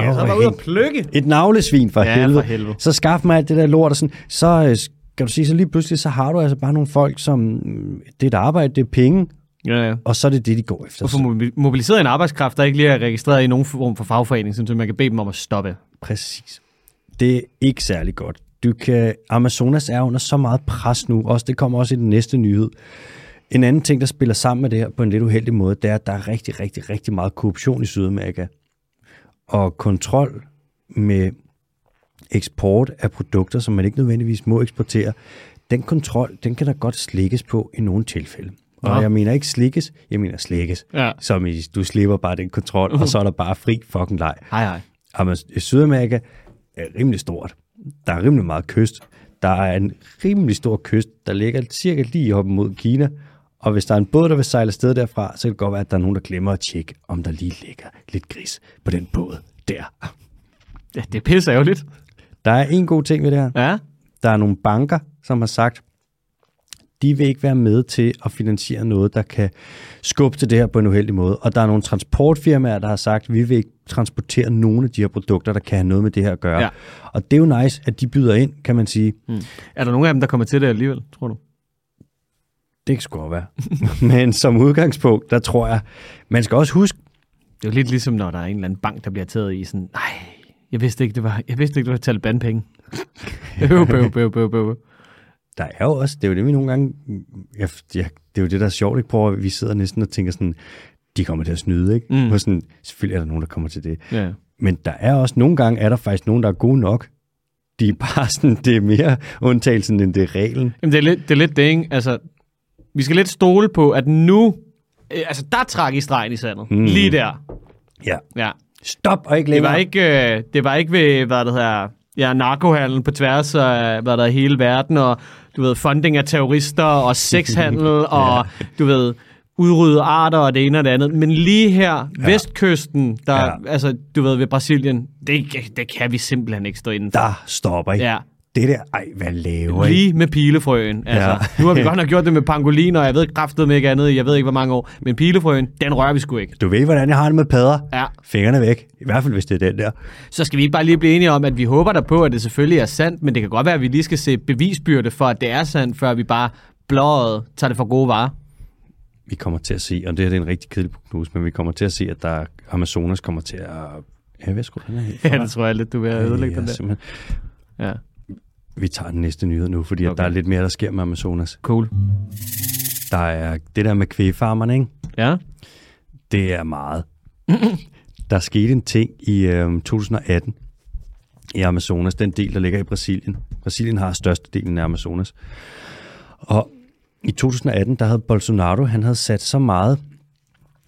A: Åh,
B: Så var
A: hey.
B: ude og plukke.
A: et navlesvin for,
B: Ja, for
A: helvede.
B: helvede.
A: Så skaf mig alt det der lort, og sådan, så øh, kan du sige, så lige pludselig, så har du altså bare nogle folk, som mm, det er et arbejde, det er penge,
B: Ja, ja.
A: og så er det det, de går efter.
B: Og få mobi- mobiliseret en arbejdskraft, der ikke lige er registreret i nogen form for fagforening, sådan så man kan bede dem om at stoppe.
A: Præcis. Det er ikke særlig godt. Du kan, Amazonas er under så meget pres nu, også det kommer også i den næste nyhed. En anden ting, der spiller sammen med det her på en lidt uheldig måde, det er, at der er rigtig, rigtig, rigtig meget korruption i Sydamerika. Og kontrol med eksport af produkter, som man ikke nødvendigvis må eksportere, den kontrol, den kan der godt slikkes på i nogle tilfælde. Og
B: Nå.
A: jeg mener ikke slikkes, jeg mener slikkes.
B: Ja.
A: Som i, du slipper bare den kontrol, og så er der bare fri fucking leg.
B: Hej, hej.
A: Jamen, Sydamerika er rimelig stort. Der er rimelig meget kyst. Der er en rimelig stor kyst, der ligger cirka lige op mod Kina. Og hvis der er en båd, der vil sejle afsted derfra, så kan det godt være, at der er nogen, der glemmer at tjekke, om der lige ligger lidt gris på den båd der.
B: Ja, det er pisse ærgerligt.
A: Der er en god ting ved det her.
B: Ja.
A: Der er nogle banker, som har sagt, de vil ikke være med til at finansiere noget, der kan skubbe til det her på en uheldig måde. Og der er nogle transportfirmaer, der har sagt, vi vil ikke transportere nogen af de her produkter, der kan have noget med det her at gøre.
B: Ja.
A: Ja. Og det er jo nice, at de byder ind, kan man sige.
B: Hmm. Er der nogen af dem, der kommer til det alligevel, tror du?
A: Det kan sgu godt være. Men som udgangspunkt, der tror jeg, man skal også huske,
B: Det er jo lidt ligesom, når der er en eller anden bank, der bliver taget i sådan, nej, jeg vidste ikke, det var, jeg vidste ikke, det var Taliban-penge. øv, øv, øv, øv, øv.
A: der er jo også, det er jo det, vi nogle gange, jeg, jeg, det er jo det, der er sjovt, ikke? Prøv at, vi sidder næsten og tænker sådan, de kommer til at snyde, ikke?
B: Mm.
A: Mm. Og sådan, selvfølgelig er der nogen, der kommer til det.
B: Ja.
A: Men der er også nogle gange, er der faktisk nogen, der er gode nok. De er bare sådan, det er mere undtagelsen, end det er reglen.
B: Jamen, det er lidt det, er lidt det ikke? Altså, vi skal lidt stole på, at nu, øh, altså, der trak I stregen i sandet. Mm.
A: Mm.
B: Lige der.
A: Ja.
B: Ja.
A: Stop og ikke
B: Det
A: længere.
B: var ikke, øh, det var ikke ved, hvad det hedder, ja, narkohandel på tværs af, hvad der er hele verden, og du ved, funding af terrorister, og sexhandel, og du ved, udrydde arter og det ene og det andet. Men lige her, ja. vestkysten, der, ja.
A: Ja.
B: altså, du ved, ved Brasilien, det, det kan vi simpelthen ikke stå inden for.
A: Der stopper ikke.
B: Ja.
A: Det der, ej, hvad laver I?
B: Lige med pilefrøen. Altså, ja.
A: Ja.
B: nu har vi godt nok gjort det med pangoliner, og jeg ved kraftedeme ikke andet, i jeg ved ikke hvor mange år, men pilefrøen, den rører vi sgu ikke.
A: Du ved, hvordan jeg har det med padder.
B: Ja.
A: Fingrene væk. I hvert fald, hvis det er den der.
B: Så skal vi ikke bare lige blive enige om, at vi håber der på, at det selvfølgelig er sandt, men det kan godt være, at vi lige skal se bevisbyrde for, at det er sandt, før vi bare blåret tager det for gode varer.
A: Vi kommer til at se, og det her det er en rigtig kedelig prognose, men vi kommer til at se, at der Amazonas kommer til at... Ja, hvad skulle den her helt
B: Ja, det tror jeg lidt, du vil ødelægge
A: Ja,
B: den der.
A: simpelthen.
B: Ja.
A: Vi tager den næste nyhed nu, fordi
B: Okay.
A: okay. der er lidt mere, der sker med Amazonas.
B: Cool.
A: Der er det der med kvægfarmerne, ikke?
B: Ja.
A: Det er meget. der skete en ting i øh, 2018 i Amazonas, den del, der ligger i Brasilien. Brasilien har størstedelen af Amazonas. Og i 2018, der havde Bolsonaro, han havde sat så meget,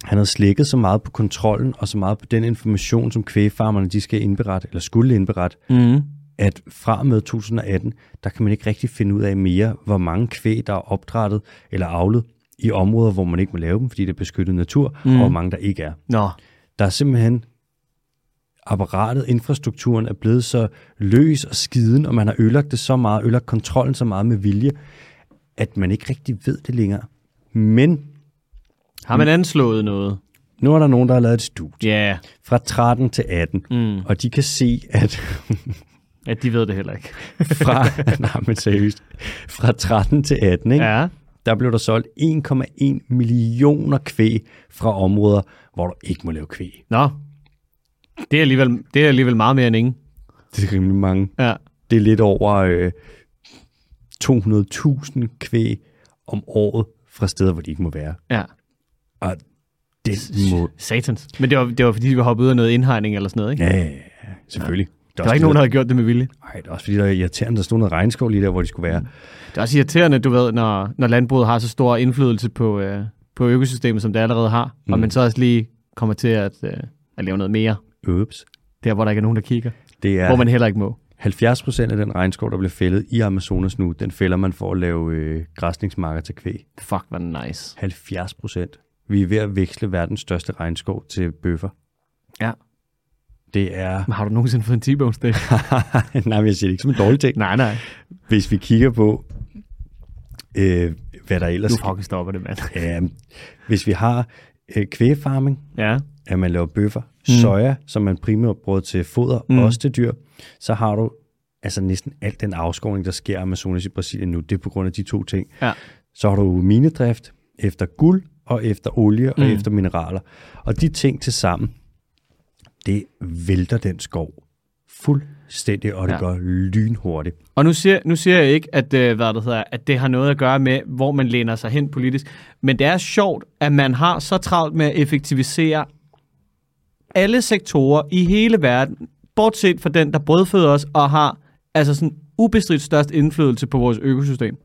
A: han havde slækket så meget på kontrollen og så meget på den information, som kvægfarmerne, de skal indberette, eller skulle indberette,
B: Mm.
A: at fra og med 2018, der kan man ikke rigtig finde ud af mere, hvor mange kvæg, der er opdrættet eller avlet i områder, hvor man ikke må lave dem, fordi det er beskyttet natur, mm. og hvor mange der ikke er.
B: Nå.
A: Der er simpelthen apparatet, infrastrukturen er blevet så løs og skiden, og man har ødelagt det så meget, ødelagt kontrollen så meget med vilje, at man ikke rigtig ved det længere. Men
B: Har man anslået noget?
A: nu er der nogen, der har lavet et studie
B: Ja.
A: fra 13 til 18,
B: Mm.
A: og de kan se, at
B: Ja, de ved det heller ikke.
A: fra, nej, men seriøst, fra 13 til 18, ikke?
B: Ja.
A: der blev der solgt 1,1 millioner kvæg fra områder, hvor du ikke må lave kvæg.
B: Nå. Det er alligevel, det er alligevel meget mere end ingen.
A: Det er rimelig mange.
B: Ja.
A: Det er lidt over øh, 200.000 kvæg om året fra steder, hvor de ikke må være.
B: Ja.
A: Og det må...
B: Satans. Men det var, det var fordi, vi hoppede ud af noget indhegning eller sådan noget, ikke?
A: Ja, ja, ja, selvfølgelig.
B: Der var ikke nogen, der havde gjort det med vilje.
A: Nej, det er også fordi, der er irriterende, der stod noget regnskov lige der, hvor de skulle være.
B: Det er også irriterende, du ved, når, når landbruget har så stor indflydelse på, øh, på økosystemet, som det allerede har, mm. og man så også lige kommer til at, øh, at lave noget mere,
A: Øps.
B: der hvor der ikke er nogen, der kigger, ja.
A: Det er
B: hvor man heller ikke må.
A: 70 procent af den regnskov, der bliver fældet i Amazonas nu, den fælder man for at lave øh, græsningsmarker til kvæg.
B: Fuck, hvor nice.
A: 70 procent. Vi er ved at veksle verdens største regnskov til bøffer.
B: Ja.
A: Det er...
B: Men har du nogensinde fået en t bone steak?
A: Nej, men jeg siger det ikke som en dårlig ting.
B: nej, nej.
A: Hvis vi kigger på, øh, hvad der ellers...
B: Du fucking stopper det, mand.
A: Ja, hvis vi har øh, kvægfarming,
B: Ja.
A: at man laver bøffer, mm. soja, som man primært bruger til foder, mm. også til dyr, så har du altså næsten al den afskovning, der sker i Amazonas i Brasilien nu, det er på grund af de to ting.
B: Ja.
A: Så har du minedrift efter guld og efter olie og
B: Mm.
A: mm. efter mineraler. Og de ting til sammen, det vælter den skov fuldstændig, og det
B: Ja.
A: ja. gør lynhurtigt.
B: Og nu siger, nu siger jeg ikke, at, øh, hvad det hedder, at det har noget at gøre med, hvor man læner sig hen politisk. Men det er sjovt, at man har så travlt med at effektivisere alle sektorer i hele verden, bortset fra den, der brødføder os og har altså sådan ubestridt størst indflydelse på vores økosystem.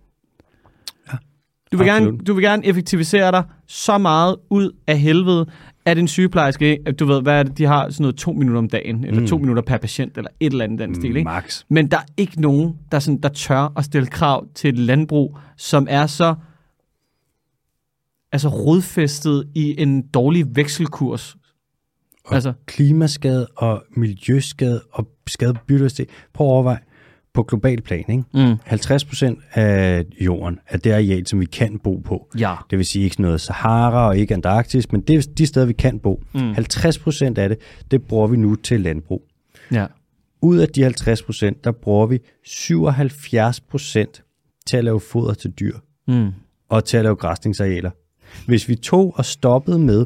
B: Du vil, gerne,
A: absolut.
B: du vil gerne effektivisere dig så meget ud af helvede, at en sygeplejerske, at du ved, hvad er det, de har sådan noget to minutter om dagen, eller mm. to minutter per patient, eller et eller andet
A: Mm.
B: i den stil, ikke?
A: Max.
B: Men der er ikke nogen, der, sådan, der tør at stille krav til et landbrug, som er så altså rodfæstet i en dårlig vekselkurs.
A: Og
B: Altså-
A: altså. klimaskade og miljøskade og skade på biodiversitet. Prøv at overveje på global plan, ikke?
B: Mm.
A: 50 procent af jorden er det areal, som vi kan bo på.
B: Ja.
A: Det vil sige ikke sådan noget Sahara og ikke Antarktis, men det er de steder, vi kan bo. Mm. 50 procent af det, det bruger vi nu til landbrug.
B: ja.
A: Ud af de 50 procent, der bruger vi 77 procent til at lave foder til dyr
B: Mm.
A: og til at lave græsningsarealer. Hvis vi tog og stoppede med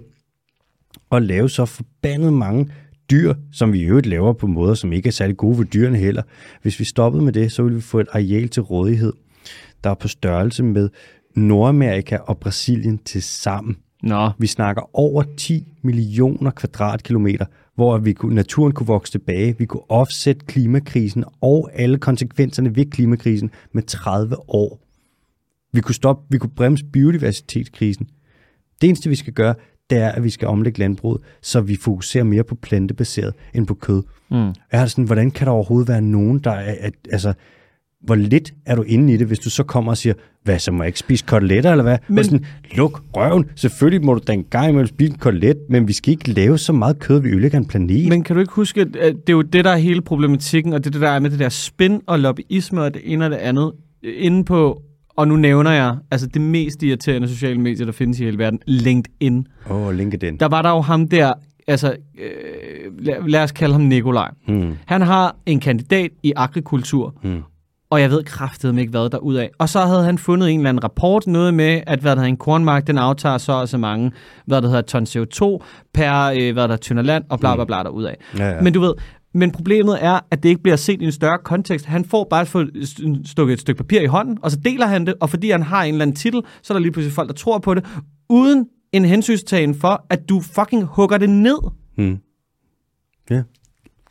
A: at lave så forbandet mange dyr, som vi i øvrigt laver på måder, som ikke er særlig gode for dyrene heller. Hvis vi stoppede med det, så ville vi få et areal til rådighed, der er på størrelse med Nordamerika og Brasilien til sammen.
B: Nå.
A: Vi snakker over 10 millioner kvadratkilometer, hvor vi kunne, naturen kunne vokse tilbage. Vi kunne offsætte klimakrisen og alle konsekvenserne ved klimakrisen med 30 år. Vi kunne, stoppe, vi kunne bremse biodiversitetskrisen. Det eneste, vi skal gøre, det er, at vi skal omlægge landbruget, så vi fokuserer mere på plantebaseret end på kød. Mm. Jeg har det sådan, hvordan kan der overhovedet være nogen, der er... At, altså, hvor lidt er du inde i det, hvis du så kommer og siger, hvad, så må jeg ikke spise koteletter, eller hvad? Men... Sådan, Luk røven. Selvfølgelig må du da en gang imellem spise en kotelet, men vi skal ikke lave så meget kød, vi ødelægger en planet. Men...
B: Men kan du ikke huske, at at det er jo det, der er hele problematikken, og det er det, der er med det der spin og lobbyisme og det ene og det andet, øh, inde på, og nu nævner jeg, altså det mest irriterende sociale medie, der findes i hele verden, LinkedIn.
A: Åh, oh, LinkedIn.
B: der var der jo ham der, altså øh, lad, lad os kalde ham Nikolaj. Mm. Han har en kandidat i agrikultur, mm. og jeg ved kraftedeme ikke, hvad der ud af. Og så havde han fundet en eller anden rapport, noget med, at hvad der hedder, en kornmark, den aftager så og så mange, hvad der hedder, ton CO2 per, øh, hvad der er, tynder land, og bla bla bla derudad.
A: Ja, ja.
B: Men du ved, men problemet er, at det ikke bliver set i en større kontekst. Han får bare få stukket et stykke papir i hånden, og så deler han det, og fordi han har en eller anden titel, så er der lige pludselig folk, der tror på det, uden en hensynstagen for, at du fucking hugger det ned.
A: Ja.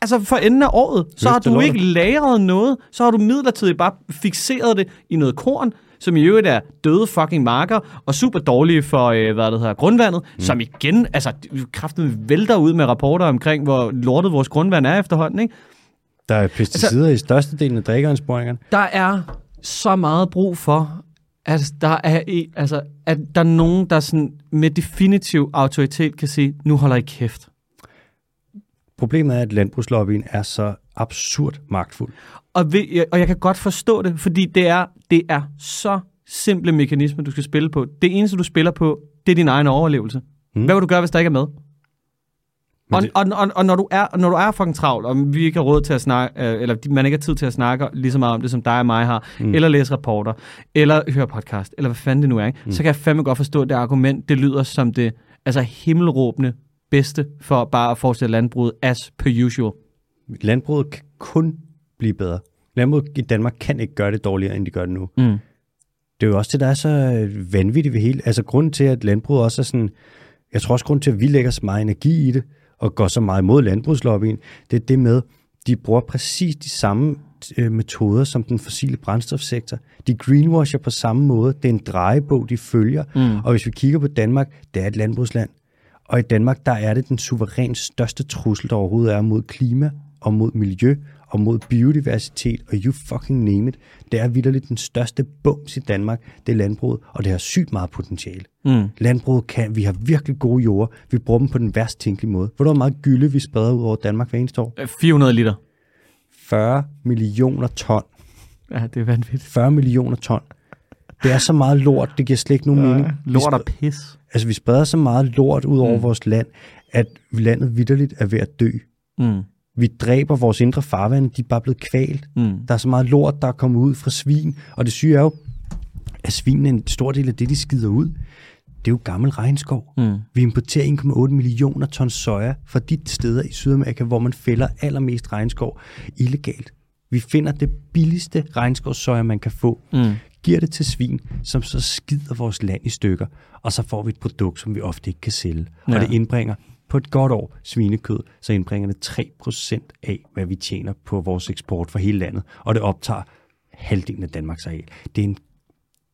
B: Altså for enden af året, så har
A: Løfte
B: du
A: lortet.
B: ikke lagret noget, så har du midlertidigt bare fixeret det i noget korn, som i øvrigt er døde fucking marker, og super dårlige for, øh, hvad det hedder, grundvandet, mm. som igen, altså kraften vælter ud med rapporter omkring, hvor lortet vores grundvand er efterhånden, ikke?
A: Der er pesticider altså... i størstedelen af drikkeandsprøjningerne.
B: Der er så meget brug for, at der er, i- altså, at der er nogen, der sådan med definitiv autoritet kan sige, nu holder I kæft.
A: Problemet er, at landbrugslobbyen er så absurd magtfuld.
B: Og, ved, jeg- og jeg kan godt forstå det, fordi det er, det er så simple mekanismer, du skal spille på. Det eneste, du spiller på, det er din egen overlevelse. Mm. Hvad vil du gøre, hvis der ikke er med? Og,
A: det-
B: og, og, og når, du er, når du er fucking travl, og vi ikke har råd til at snakke, øh, eller man ikke har tid til at snakke lige så meget om det, som dig og mig har, mm. eller læse rapporter, eller høre podcast, eller hvad fanden det nu er, ikke? Mm. så kan jeg fandme godt forstå, at det argument, det lyder som det altså himmelråbende bedste for bare at fortsætte landbruget as per usual.
A: Landbruget kan kun blive bedre. Landbruget i Danmark kan ikke gøre det dårligere, end de gør det nu. Mm. Det er jo også det, der er så øh, vanvittigt ved hele. Altså grunden til, at landbruget også er sådan... Jeg tror også, grunden til, at vi lægger så meget energi i det, og går så meget imod landbrugslobbyen, det er det med, de bruger præcis de samme øh, metoder som den fossile brændstofsektor. De greenwasher på samme måde. Det er en drejebog, de følger. Mm. Og hvis vi kigger på Danmark, det er et landbrugsland. Og i Danmark, der er det den suverænt største trussel, der overhovedet er mod klima og mod miljø og mod biodiversitet og you fucking name it. Det er vidderligt den største bums i Danmark, det er landbruget, og det har sygt meget potentiale. Mm. Landbruget kan, vi har virkelig gode jorder, vi bruger dem på den værst tænkelige måde. Hvor der er meget gylde, vi spreder ud over Danmark hver eneste år.
B: Øh, 400 liter.
A: 40 millioner ton.
B: Ja, det er vanvittigt.
A: 40 millioner ton. Det er så meget lort, det giver slet ikke nogen mening. Vi
B: Lort og pis.
A: Altså, vi spreder så meget lort ud over mm. vores land, at landet vidderligt er ved at dø.
B: Mm.
A: vi dræber vores indre farvand, de er bare blevet kvalt.
B: Mm.
A: Der er så meget lort, der er kommet ud fra svin, og det syge er jo, at svinene, en stor del af det, de skider ud, det er jo gammel regnskov.
B: Mm.
A: Vi importerer 1,8 millioner tons soja fra de steder i Sydamerika, hvor man fælder allermest regnskov illegalt. Vi finder det billigste regnskovssoja, man kan få,
B: Mm.
A: giver det til svin, som så skider vores land i stykker, og så får vi et produkt, som vi ofte ikke kan sælge. Ja.
B: Ja.
A: Og det indbringer på et godt år svinekød, så indbringer det 3% af, hvad vi tjener på vores eksport for hele landet, og det optager halvdelen af Danmarks areal. Det er, en,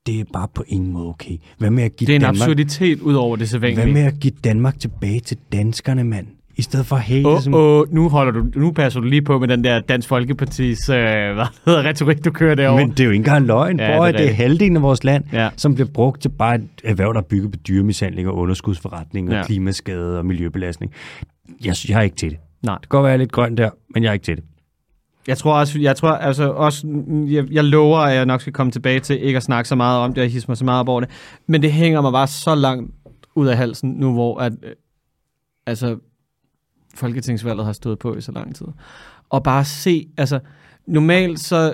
A: det er bare på ingen måde okay. Hvad med at give
B: Det er en
A: Danmark...
B: absurditet ud over det
A: Hvad med
B: sædvanlige.
A: at give Danmark tilbage til danskerne, mand? I stedet for at hate,
B: Åh,
A: oh, som...
B: oh, nu, holder du, nu passer du lige på med den der Dansk Folkepartis øh, hvad hedder, retorik, du kører derovre.
A: Men det er jo ikke engang løgn.
B: Ja,
A: Ja,
B: det er
A: Prøv, det, det er
B: rigtigt.
A: halvdelen af vores land,
B: Ja.
A: ja. som bliver brugt til bare et erhverv, der er bygget på dyremishandling og underskudsforretning og
B: Ja.
A: ja. klimaskade og miljøbelastning. Jeg, jeg er ikke til det.
B: Nej.
A: Det kan godt være, jeg er lidt grøn der, men jeg er ikke til det.
B: Jeg tror også, jeg, tror, altså, også mm, jeg, jeg lover, at jeg nok skal komme tilbage til ikke at snakke så meget om det og hisse mig så meget op over det. Men det hænger mig bare så langt ud af halsen nu, hvor at, øh, altså, folketingsvalget har stået på i så lang tid. Og bare se, altså normalt så,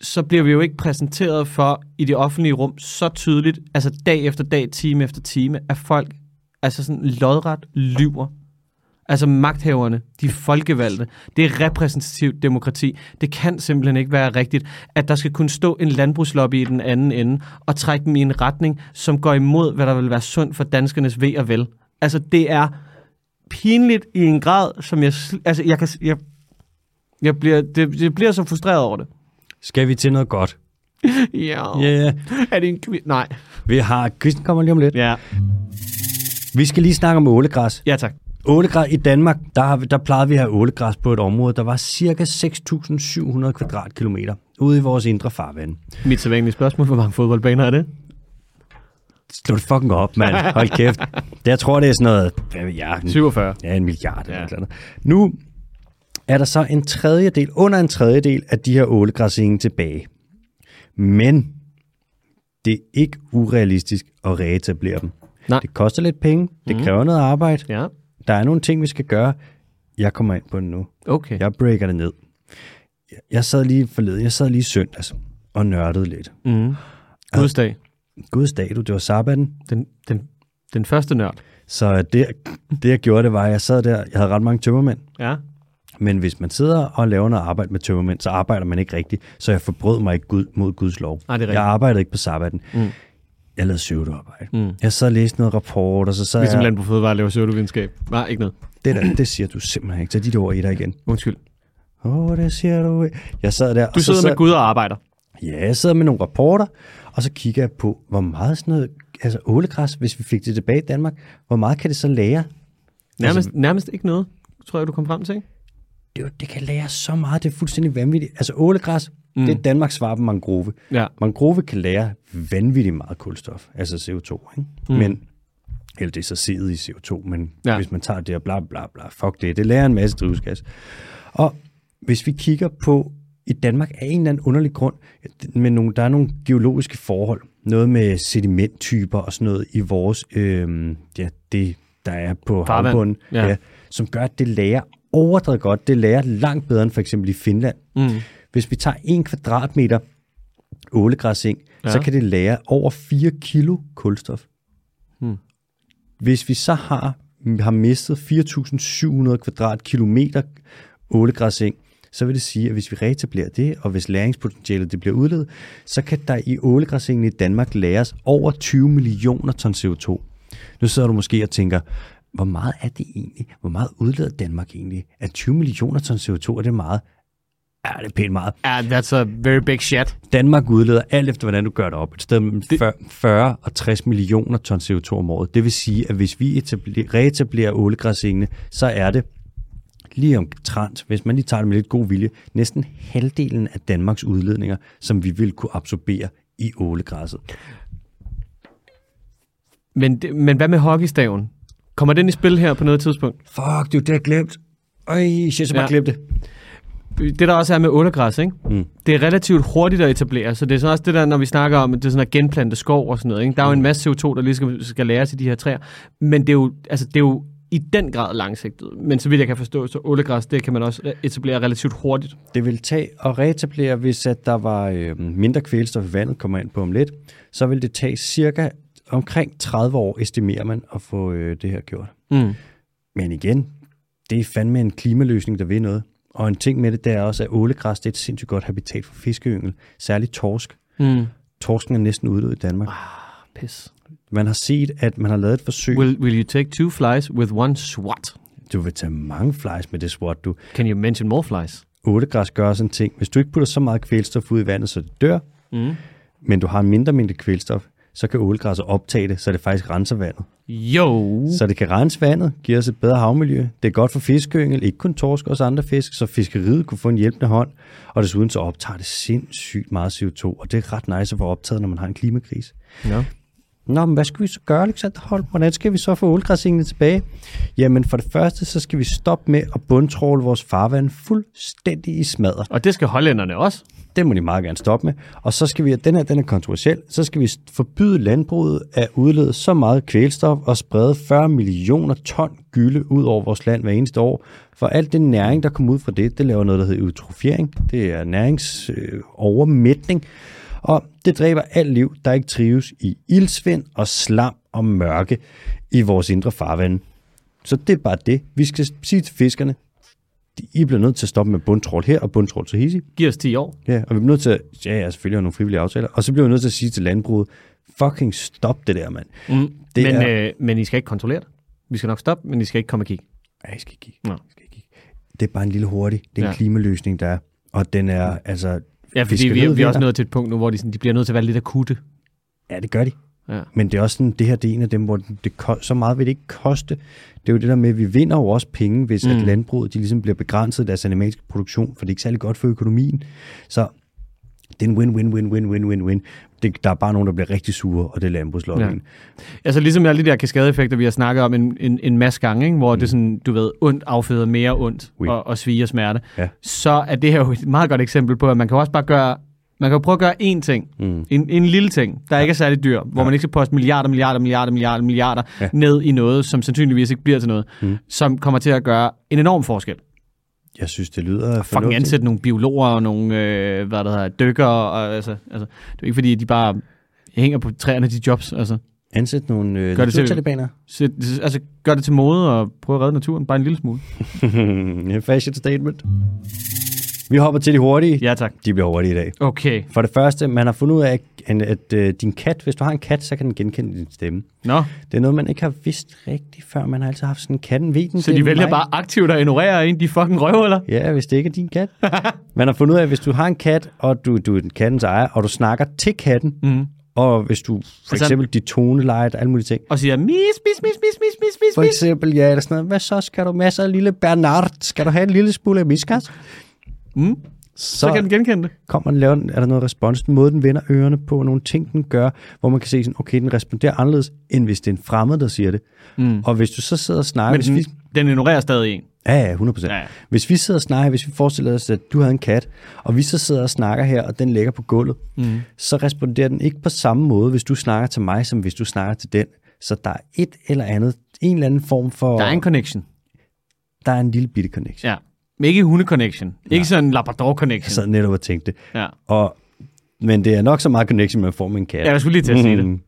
B: så bliver vi jo ikke præsenteret for i det offentlige rum så tydeligt, altså dag efter dag, time efter time, at folk altså sådan lodret lyver Altså magthaverne, de folkevalgte, det er repræsentativt demokrati. Det kan simpelthen ikke være rigtigt, at der skal kunne stå en landbrugslobby i den anden ende og trække dem i en retning, som går imod, hvad der vil være sundt for danskernes ved og vel. Altså det er pinligt i en grad, som jeg... sl- Altså jeg kan... s- Jeg, jeg bliver, det, jeg bliver så frustreret over det.
A: Skal vi til noget godt? Ja,
B: Ja.
A: yeah.
B: Er det en kvind? Nej.
A: vi har... Kristen kommer lige om lidt. Ja.
B: Ja.
A: Vi skal lige snakke om ålegræs.
B: Ja, tak.
A: Ålegræs i Danmark, der, har, vi- der plejede vi at have ålegræs på et område, der var cirka 6.700 kvadratkilometer ude i vores indre farvand.
B: Mit sædvanlige spørgsmål, hvor mange fodboldbaner er det?
A: Slå det fucking op, mand. Hold kæft. Det, jeg tror, det er sådan noget... Hvad ved jeg? en-
B: 47.
A: Ja, en milliard eller
B: Ja.
A: ja. eller andet. Nu er der så en tredjedel, under en tredjedel af de her ålegræsenge tilbage. Men det er ikke urealistisk at reetablere dem.
B: Nej. Mhm.
A: Det koster lidt penge, det kræver noget arbejde,
B: Ja.
A: der er nogle ting, vi skal gøre. Jeg kommer ind på det nu.
B: Okay.
A: Jeg breaker det ned. Jeg- Jeg sad lige forleden, jeg sad lige søndags og nørdede lidt.
B: Mm. Gudsdag.
A: Guds dag, du, det var sabbaten.
B: Den, den, den første nørd.
A: Så det, det, jeg gjorde, det var, at jeg sad der, jeg havde ret mange tømmermænd,
B: Ja.
A: Men hvis man sidder og laver noget arbejde med tømmermænd, så arbejder man ikke rigtigt. Så jeg forbrød mig ikke Gud, mod Guds lov.
B: Nej, det er rigtigt.
A: jeg arbejdede ikke på sabbaten.
B: Mm.
A: Mm. Jeg lavede søvdearbejde. Mm. Jeg sad og læste noget rapport, og så sad
B: Ligesom
A: jeg...
B: Land på Fødevare laver søvdevidenskab. Nej, ikke noget.
A: Det, der, det siger du simpelthen ikke. Tag dit ord i dig igen.
B: Undskyld.
A: Åh, oh, det siger du ikke. Jeg sad der...
B: Du
A: og så
B: sidder
A: sad,
B: med Gud og arbejder.
A: Ja, jeg sidder med nogle rapporter, og så kigger jeg på, hvor meget sådan noget... Altså ålegræs, hvis vi fik det tilbage i Danmark, hvor meget kan det så lære?
B: Nærmest, nærmest ikke noget, tror jeg, du kom frem til. ikke?
A: Det, er jo- det kan lære så meget, det er fuldstændig vanvittigt. Altså ålegræs, mm. det er Danmarks svar på mangrove.
B: Ja.
A: Mangrove kan lære vanvittigt meget kulstof, altså CO2, ikke? Mm. Men, eller det er så siddet i CO2, men
B: Ja.
A: ja. hvis man tager det og bla bla bla, fuck det, det lærer en masse drivhusgas. Og hvis vi kigger på, i Danmark af en eller anden underlig grund, men nogle, der er nogle geologiske forhold, noget med sedimenttyper og sådan noget i vores, øh, ja, det der er på
B: Farvand.
A: havbunden,
B: Ja.
A: ja. Ja, som gør, at det lærer overdrevet godt, det lærer langt bedre end for eksempel i Finland.
B: Mm.
A: Hvis vi tager en kvadratmeter ålegræseng, ja.
B: Ja.
A: så kan det lære over 4 kilo kulstof.
B: Hmm.
A: Hvis vi så har, har mistet 4.700 kvadratkilometer ålegræseng, så vil det sige, at hvis vi reetablerer det, og hvis læringspotentialet det bliver udledet, så kan der i ålegræsengen i Danmark læres over 20 millioner ton CO2. Nu sidder du måske og tænker, hvor meget er det egentlig? Hvor meget udleder Danmark egentlig? Er 20 millioner ton CO2, er det meget? Ja, det er pænt meget.
B: Yeah, that's a very big shit.
A: Danmark udleder alt efter, hvordan du gør det op. Et sted mellem 40 og 60 millioner ton CO2 om året. Det vil sige, at hvis vi etabler, reetablerer ålegræsengene, så er det lige omtrent, hvis man lige tager det med lidt god vilje, næsten halvdelen af Danmarks udledninger, som vi vil kunne absorbere i ålegræsset.
B: Men, det- men hvad med hockeystaven? Kommer den i spil her på noget tidspunkt?
A: Fuck, det er jo det, jeg glemt. Øj, shit, så
B: Ja.
A: bare glemt det.
B: det der også er med ålegræs, ikke? Mm. det er relativt hurtigt at etablere, så det er sådan også det der, når vi snakker om, at det er sådan at genplante skov og sådan noget. Ikke? Der er jo en masse CO2, der lige skal, skal læres i de her træer, men det er jo, altså, det er jo i den grad langsigtet. Men så vidt jeg kan forstå, så ålegræs, det kan man også etablere relativt hurtigt.
A: Det vil tage at reetablere, hvis at der var øh, mindre kvælstof i vandet, kommer ind på om lidt, så vil det tage cirka omkring 30 år, estimerer man, at få øh, det her gjort.
B: Mm.
A: Men igen, det er fandme en klimaløsning, der vil noget. Og en ting med det, det er også, at ålegræs det er et sindssygt godt habitat for fiskeyngel, særligt torsk.
B: Mm.
A: Torsken er næsten uddød i Danmark.
B: Pis.
A: Man har set, at man har lavet et forsøg.
B: Will, will you take two flies with one swat?
A: Du vil tage mange flies med det swat, du.
B: Can you mention more flies?
A: Ålegræs gør sådan en ting. Hvis du ikke putter så meget kvælstof ud i vandet, så det dør,
B: Mm.
A: men du har en mindre mængde kvælstof, så kan ålegræsset optage det, så det faktisk renser vandet.
B: Mm. Jo.
A: Så det kan rense vandet, give os et bedre havmiljø. Det er godt for fiskeyngel, ikke kun torsk, også andre fisk, så fiskeriet kunne få en hjælpende hånd. Og desuden så optager det sindssygt meget CO2, og det er ret nice at få optaget, når man har en klimakrise.
B: No.
A: Nå, men hvad skal vi så gøre, Alexander Holm? Hvordan skal vi så få ålgræsingene tilbage? Jamen, for det første, så skal vi stoppe med at bundtråle vores farvand fuldstændig i smadret.
B: Og det skal hollænderne også.
A: Det må de meget gerne stoppe med. Og så skal vi, og den her den er kontroversiel, så skal vi forbyde landbruget at udlede så meget kvælstof og sprede 40 millioner ton gylde ud over vores land hver eneste år. For alt den næring, der kommer ud fra det, det laver noget, der hedder eutrofiering. Det er næringsovermætning. Øh, overmætning. og det dræber alt liv, der ikke trives i ildsvind og slam og mørke i vores indre farvande. Så det er bare det. Vi skal sige til fiskerne, I bliver nødt til at stoppe med bundtrål her og bundtrål til hisi.
B: Giv os 10 år.
A: Ja, og vi bliver nødt til at, ja, ja, selvfølgelig har nogle frivillige aftaler, og så bliver vi nødt til at sige til landbruget, fucking stop det der, mand.
B: Mm.
A: Det
B: men,
A: er-
B: øh, men I skal ikke kontrollere det. Vi skal nok stoppe, men I skal ikke komme og kigge.
A: Ja, I skal ikke.
B: Nå.
A: I skal ikke. Det er bare en lille hurtig, det er en
B: Ja. Mm.
A: klimaløsning, der er, og den er, altså,
B: Ja, fordi
A: fiskeriet
B: vi, vi er
A: vinder.
B: også nået til et punkt nu, hvor de, sådan, de bliver nødt til at være lidt akutte.
A: Ja, det gør de.
B: Ja.
A: Men det er også sådan, det her det er en af dem, hvor det, ko- så meget vil det ikke koste. Det er jo det der med, at vi vinder jo også penge, hvis mm. at landbruget de ligesom bliver begrænset i deres animalske produktion, for det er ikke særlig godt for økonomien. Så det er en win-win-win-win-win-win-win. Det- Der er bare nogen, der bliver rigtig sure, og det er landbrugslobbyen.
B: Altså ligesom alle de der kaskadeeffekter, vi har snakket om en, en, en masse gange, ikke? hvor mm. det er sådan, du ved, ondt afføder mere ondt
A: Oui.
B: og, og sviger smerte,
A: Ja.
B: så er det her jo et meget godt eksempel på, at man kan også bare gøre, man kan jo prøve at gøre én ting, mm. en, en lille ting, der ikke er særlig dyr, hvor man ikke skal poste milliarder, milliarder, milliarder, milliarder, milliarder
A: Ja.
B: ja. ned i noget, som sandsynligvis ikke bliver til noget, mm. som kommer til at gøre en enorm forskel.
A: Jeg synes, det lyder
B: Fucking
A: fornuftigt.
B: ansætte nogle biologer og nogle, øh, hvad der hedder, dykker, og, altså, altså, det er jo ikke fordi, de bare hænger på træerne, de jobs, altså.
A: Ansæt nogle øh,
B: Gør det til-
A: naturtalibaner.
B: Så, altså, gør det til mode og prøv at redde naturen, bare en lille smule.
A: Fashion statement. Vi hopper til de hurtige.
B: Ja, tak.
A: De bliver hurtige i dag.
B: Okay.
A: For det første, man har fundet ud af, at, at øh, din kat, hvis du har en kat, så kan den genkende din stemme.
B: Nå,
A: Det er noget, man ikke har vidst rigtigt før. Man har altid haft sådan en katten ved den.
B: så
A: det
B: de
A: er
B: vælger
A: mig.
B: bare aktivt at ignorere en, de fucking røvhuller.
A: Ja, hvis det ikke er din kat. man har fundet ud af, at hvis du har en kat, og du, du er den kattens ejer, og du snakker til katten, mm. og hvis du for
B: Mhm. Altså-
A: eksempel dit toneleje og alle mulige ting.
B: Og siger, mis, mis, mis, mis, mis, mis, mis,
A: For
B: mis.
A: eksempel, ja, eller sådan noget. Hvad så? Skal du masser af lille Bernard? Skal du have en lille smule af miskas?
B: Mm. Så kan den genkende det.
A: kommer den, laver den, er der noget respons, den måde den vender ørerne på, nogle ting den gør, hvor man kan se sådan, okay, den responderer anderledes, end hvis det er en fremmed, der siger det. Mm. Og hvis du så sidder og snakker,
B: Men
A: hvis
B: den,
A: vi,
B: Mhm. den ignorerer stadig en.
A: ja, ja, 100%.
B: Ja,
A: Ja.
B: ja.
A: Hvis vi sidder og snakker, hvis vi forestiller os, at du havde en kat, og vi så sidder og snakker her, og den ligger på gulvet, mm. så responderer den ikke på samme måde, hvis du snakker til mig, som hvis du snakker til den. Så der er et eller andet, en eller anden form for,
B: Der er en connection.
A: der er en lille bitte connection.
B: Ja. Men ikke hunde-connection. Ikke sådan en labrador-connection.
A: Jeg sad netop og tænkte,
B: Ja.
A: og, men det er nok så meget connection, man får med en kat.
B: ja, jeg skulle lige til at sige det.
A: Mm.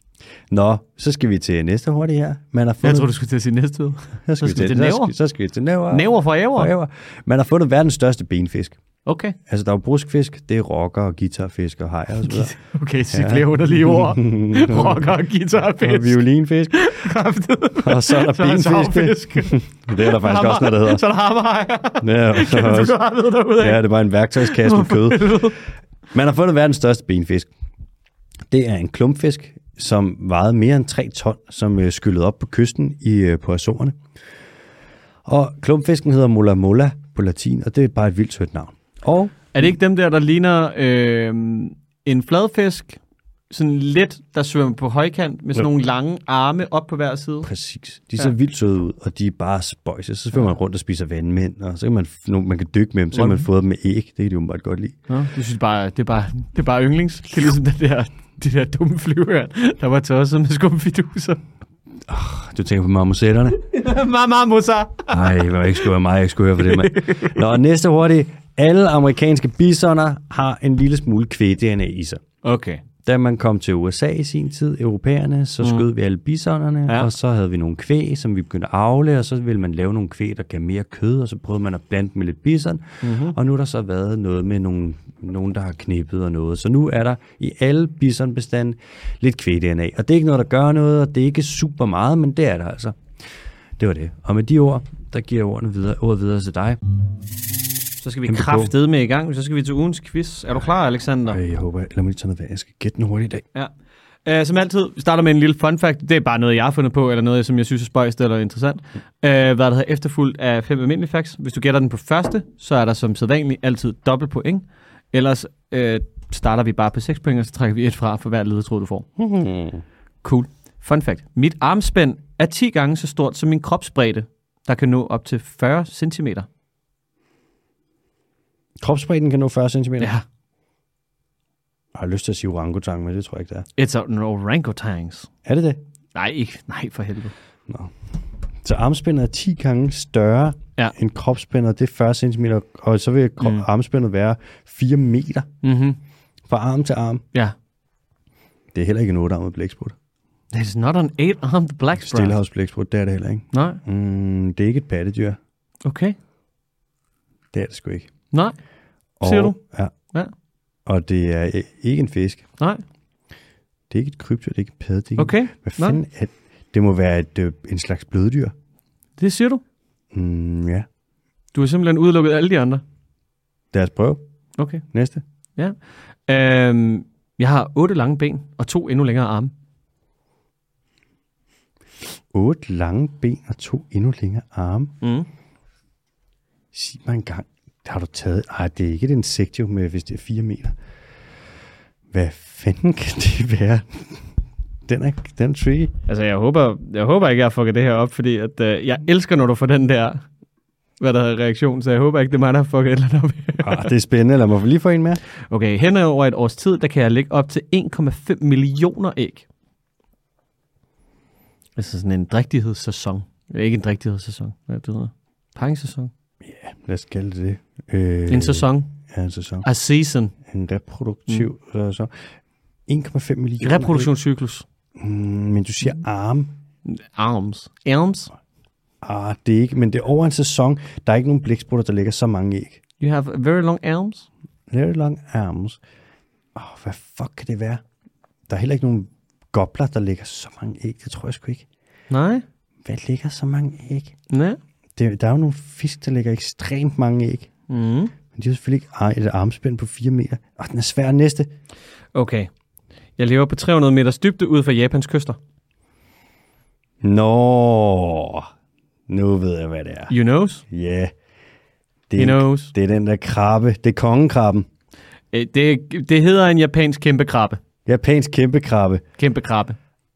A: Nå, så skal vi til næste hurtigt her. Man har fundet,
B: Jeg tror, du skulle til at sige næste ud.
A: så skal, vi til,
B: næver.
A: Så skal, så skal vi til næver.
B: Næver for æver.
A: Næver. Man har fundet verdens største benfisk.
B: Okay.
A: Altså, der er jo bruskfisk, det er rocker og guitarfisk og hajer og så videre.
B: Okay, sig ja. flere underlige ord. Rocker og guitar og
A: Og violinfisk. Og så er der
B: Så er der
A: benfisk.
B: savfisk.
A: det er der faktisk også noget, der hedder.
B: Så er der hammerhajer.
A: Ja, så er der
B: Kan du
A: også-
B: godt vide derude af?
A: ja, det er bare en værktøjskasse med kød. Man har fundet verdens største benfisk. Det er en klumpfisk, som vejede mere end 3 ton, som øh, skyllede op på kysten i, øh, på Azorerne. Og klumpfisken hedder Mola Mola på latin, og det er bare et vildt sødt navn. Og
B: Er det ikke dem der, der ligner øh, en fladfisk, sådan lidt, der svømmer på højkant, med sådan
A: Jo.
B: nogle lange arme op på hver side?
A: præcis, de ser ja. vildt søde ud, og de er bare spøjse. Så svømmer man rundt og spiser vandmænd, og så kan man, f- nogle- man kan dykke med dem, så kan man få dem med æg. Det kan de jo bare godt lide.
B: Nå, jeg synes bare, det er bare, det er bare yndlings. Det er ligesom den der, det der dumme flyvehørn, der var tosset med skumfiduser.
A: Du tænker på marmosetterne?
B: Mama Musa.
A: Nej, det var ikke skulle høre mig, jeg ikke skulle høre for det, mand. Nå, næste hurtigt. Alle amerikanske bisoner har en lille smule kvæg-DNA i sig.
B: Okay.
A: Da man kom til USA i sin tid, europæerne, så skød vi alle bisonerne,
B: Ja.
A: ja. og så havde vi nogle kvæg, som vi begyndte at avle, og så ville man lave nogle kvæg, der gav mere kød, og så prøvede man at blande dem med lidt bison. Mm-hmm. Og nu har der så været noget med nogle, nogen, der har knippet og noget. Så nu er der i alle bisonbestanden lidt kvæg-DNA. Og det er ikke noget, der gør noget, og det er ikke super meget, men det er der altså. Det var det. Og med de ord, der giver jeg ordene videre, ordet videre til dig.
B: Så skal vi
A: Kæmpe
B: kraftede med i gang. Så skal vi til ugens quiz. Er du klar, Alexander?
A: Ej, Øh, jeg håber, lad mig lige tage noget vand. Jeg skal gætte den hurtigt i dag.
B: Ja. Uh, som altid, vi starter med en lille fun fact. Det er bare noget, jeg har fundet på, eller noget, som jeg synes er spøjst eller interessant. Uh, hvad der hedder efterfulgt af fem almindelige facts. Hvis du gætter den på første, så er der som sædvanligt altid dobbelt point. Ellers uh, starter vi bare på 6 point, og så trækker vi et fra for hver ledetråd, du får. Cool. Fun fact. Mit armspænd er 10 gange så stort som min kropsbredde, der kan nå op til 40 cm.
A: Kropsbredden kan nå 40 cm. Ja.
B: Ja,
A: Jeg har lyst til at sige orangutang, men det tror jeg ikke, det er.
B: it's an orangutans.
A: Er det det?
B: Nej, ikke. Nej, for helvede.
A: Så armspændet er 10 gange større
B: Ja.
A: ja. end kropsspændet. Det er 40 cm, og så vil krop- mm. armspændet være 4 meter
B: Mhm.
A: fra arm til arm.
B: Ja.
A: Det er heller ikke en 8-armet blæksprut.
B: That is not an eight-armed black sprout.
A: Stillehavsblæksprut, det er det heller ikke.
B: Nej,
A: Mm, det er ikke et pattedyr.
B: okay.
A: Det er det sgu ikke.
B: Nej, Siger du?
A: Ja.
B: Ja.
A: Og det er øh, ikke en fisk.
B: nej,
A: Det er ikke et krybdyr, det er ikke en padde. Det er ikke
B: okay.
A: Hvad
B: Nå.
A: fanden er det? må være et, øh, en slags bløddyr.
B: Det siger du.
A: Mm, ja.
B: Du har simpelthen udelukket alle de andre.
A: Lad os prøve.
B: Okay.
A: Næste.
B: Ja. Øhm, jeg har otte lange ben og to endnu længere arme.
A: Otte lange ben og to endnu længere arme.
B: Mm.
A: Sig mig engang, har du taget... Ej, det er ikke et insekt jo, med, hvis det er 4 meter. Hvad fanden kan det være? Den er, den er tricky.
B: Altså, jeg håber, jeg håber ikke, jeg har fucket det her op, fordi at, øh, jeg elsker, når du får den der hvad der hedder, reaktion, så jeg håber ikke, det er mig, der har fucket et eller andet op.
A: Ah, det er spændende. Lad mig lige få en mere.
B: okay, hen over et års tid, der kan jeg lægge op til 1,5 millioner æg. Altså sådan en drægtighedssæson. Ikke en drægtighedssæson, hvad det hedder. Paringssæson.
A: Lad os kalde det det. Øh,
B: En sæson.
A: Ja, en sæson.
B: A season.
A: En reproduktiv mm. sæson. 1,5 millioner.
B: Reproduktionscyklus.
A: Mm, men du siger arme.
B: Arms. Arms.
A: Ah, det er ikke, men det er over en sæson. Der er ikke nogen blæksprutter, der lægger så mange æg.
B: You have very long arms.
A: Very long arms. Oh, hvad fuck kan det være? Der er heller ikke nogen gobler, der lægger så mange æg. Det tror jeg sgu ikke.
B: Nej.
A: Hvad lægger så mange æg?
B: Nej.
A: Det, der er jo nogle fisk, der lægger ekstremt mange æg.
B: Mm.
A: Men de har selvfølgelig ikke ar- et armspænd på 4 meter. Og oh, den er svær næste.
B: Okay. Jeg lever på 300 meters dybde ud fra Japans kyster.
A: Nå, nu ved jeg, hvad det er.
B: You knows?
A: Ja, yeah. det,
B: He
A: er-
B: knows.
A: det er den der krabbe. Det er kongekrabben.
B: Øh, Det, det hedder en japansk kæmpe krabbe.
A: Japansk kæmpe krabbe.
B: Kæmpe krabbe.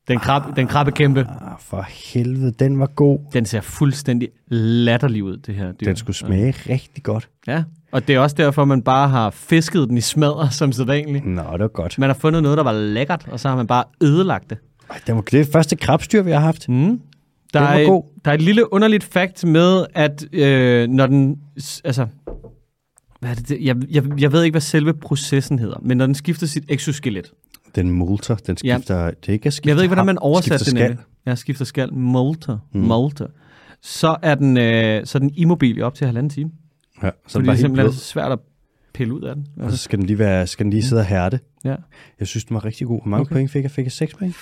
B: Den krabbe, den krabbe kæmpe.
A: Ah, for helvede, den var god.
B: Den ser fuldstændig latterlig ud, det her dyr.
A: Den skulle smage ja. rigtig godt.
B: Ja, og det er også derfor, man bare har fisket den i smadre, som sædvanligt.
A: Nå, det var godt.
B: Man har fundet noget, der var lækkert, og så har man bare ødelagt det.
A: Ej, det, var, det er første krabstyr, vi har haft.
B: Mm. Der,
A: Den var
B: er,
A: god.
B: der er et lille underligt fakt med, at øh, når den... s- Altså, hvad er det, det? Jeg, jeg, jeg ved ikke, hvad selve processen hedder, men når den skifter sit exoskelet.
A: Den molter, den
B: Ja.
A: skifter... Ja. Det er ikke at skifte
B: Jeg ved ikke, hvordan
A: ham,
B: man oversætter
A: skifter
B: det.
A: skal.
B: nemlig. Ja, skifter skal. Molter. Mm. Molter. Så er den, øh, så er den immobil i op til halvanden time.
A: Ja, så den
B: fordi det
A: bare
B: er
A: helt
B: simpelthen
A: blød.
B: er svært at pille ud af den.
A: Og så
B: Altså,
A: skal den lige, være, skal den lige sidde og hærde.
B: ja.
A: Jeg synes, den var rigtig god. Hvor mange
B: Okay.
A: okay. point fik jeg? Fik jeg 6 point?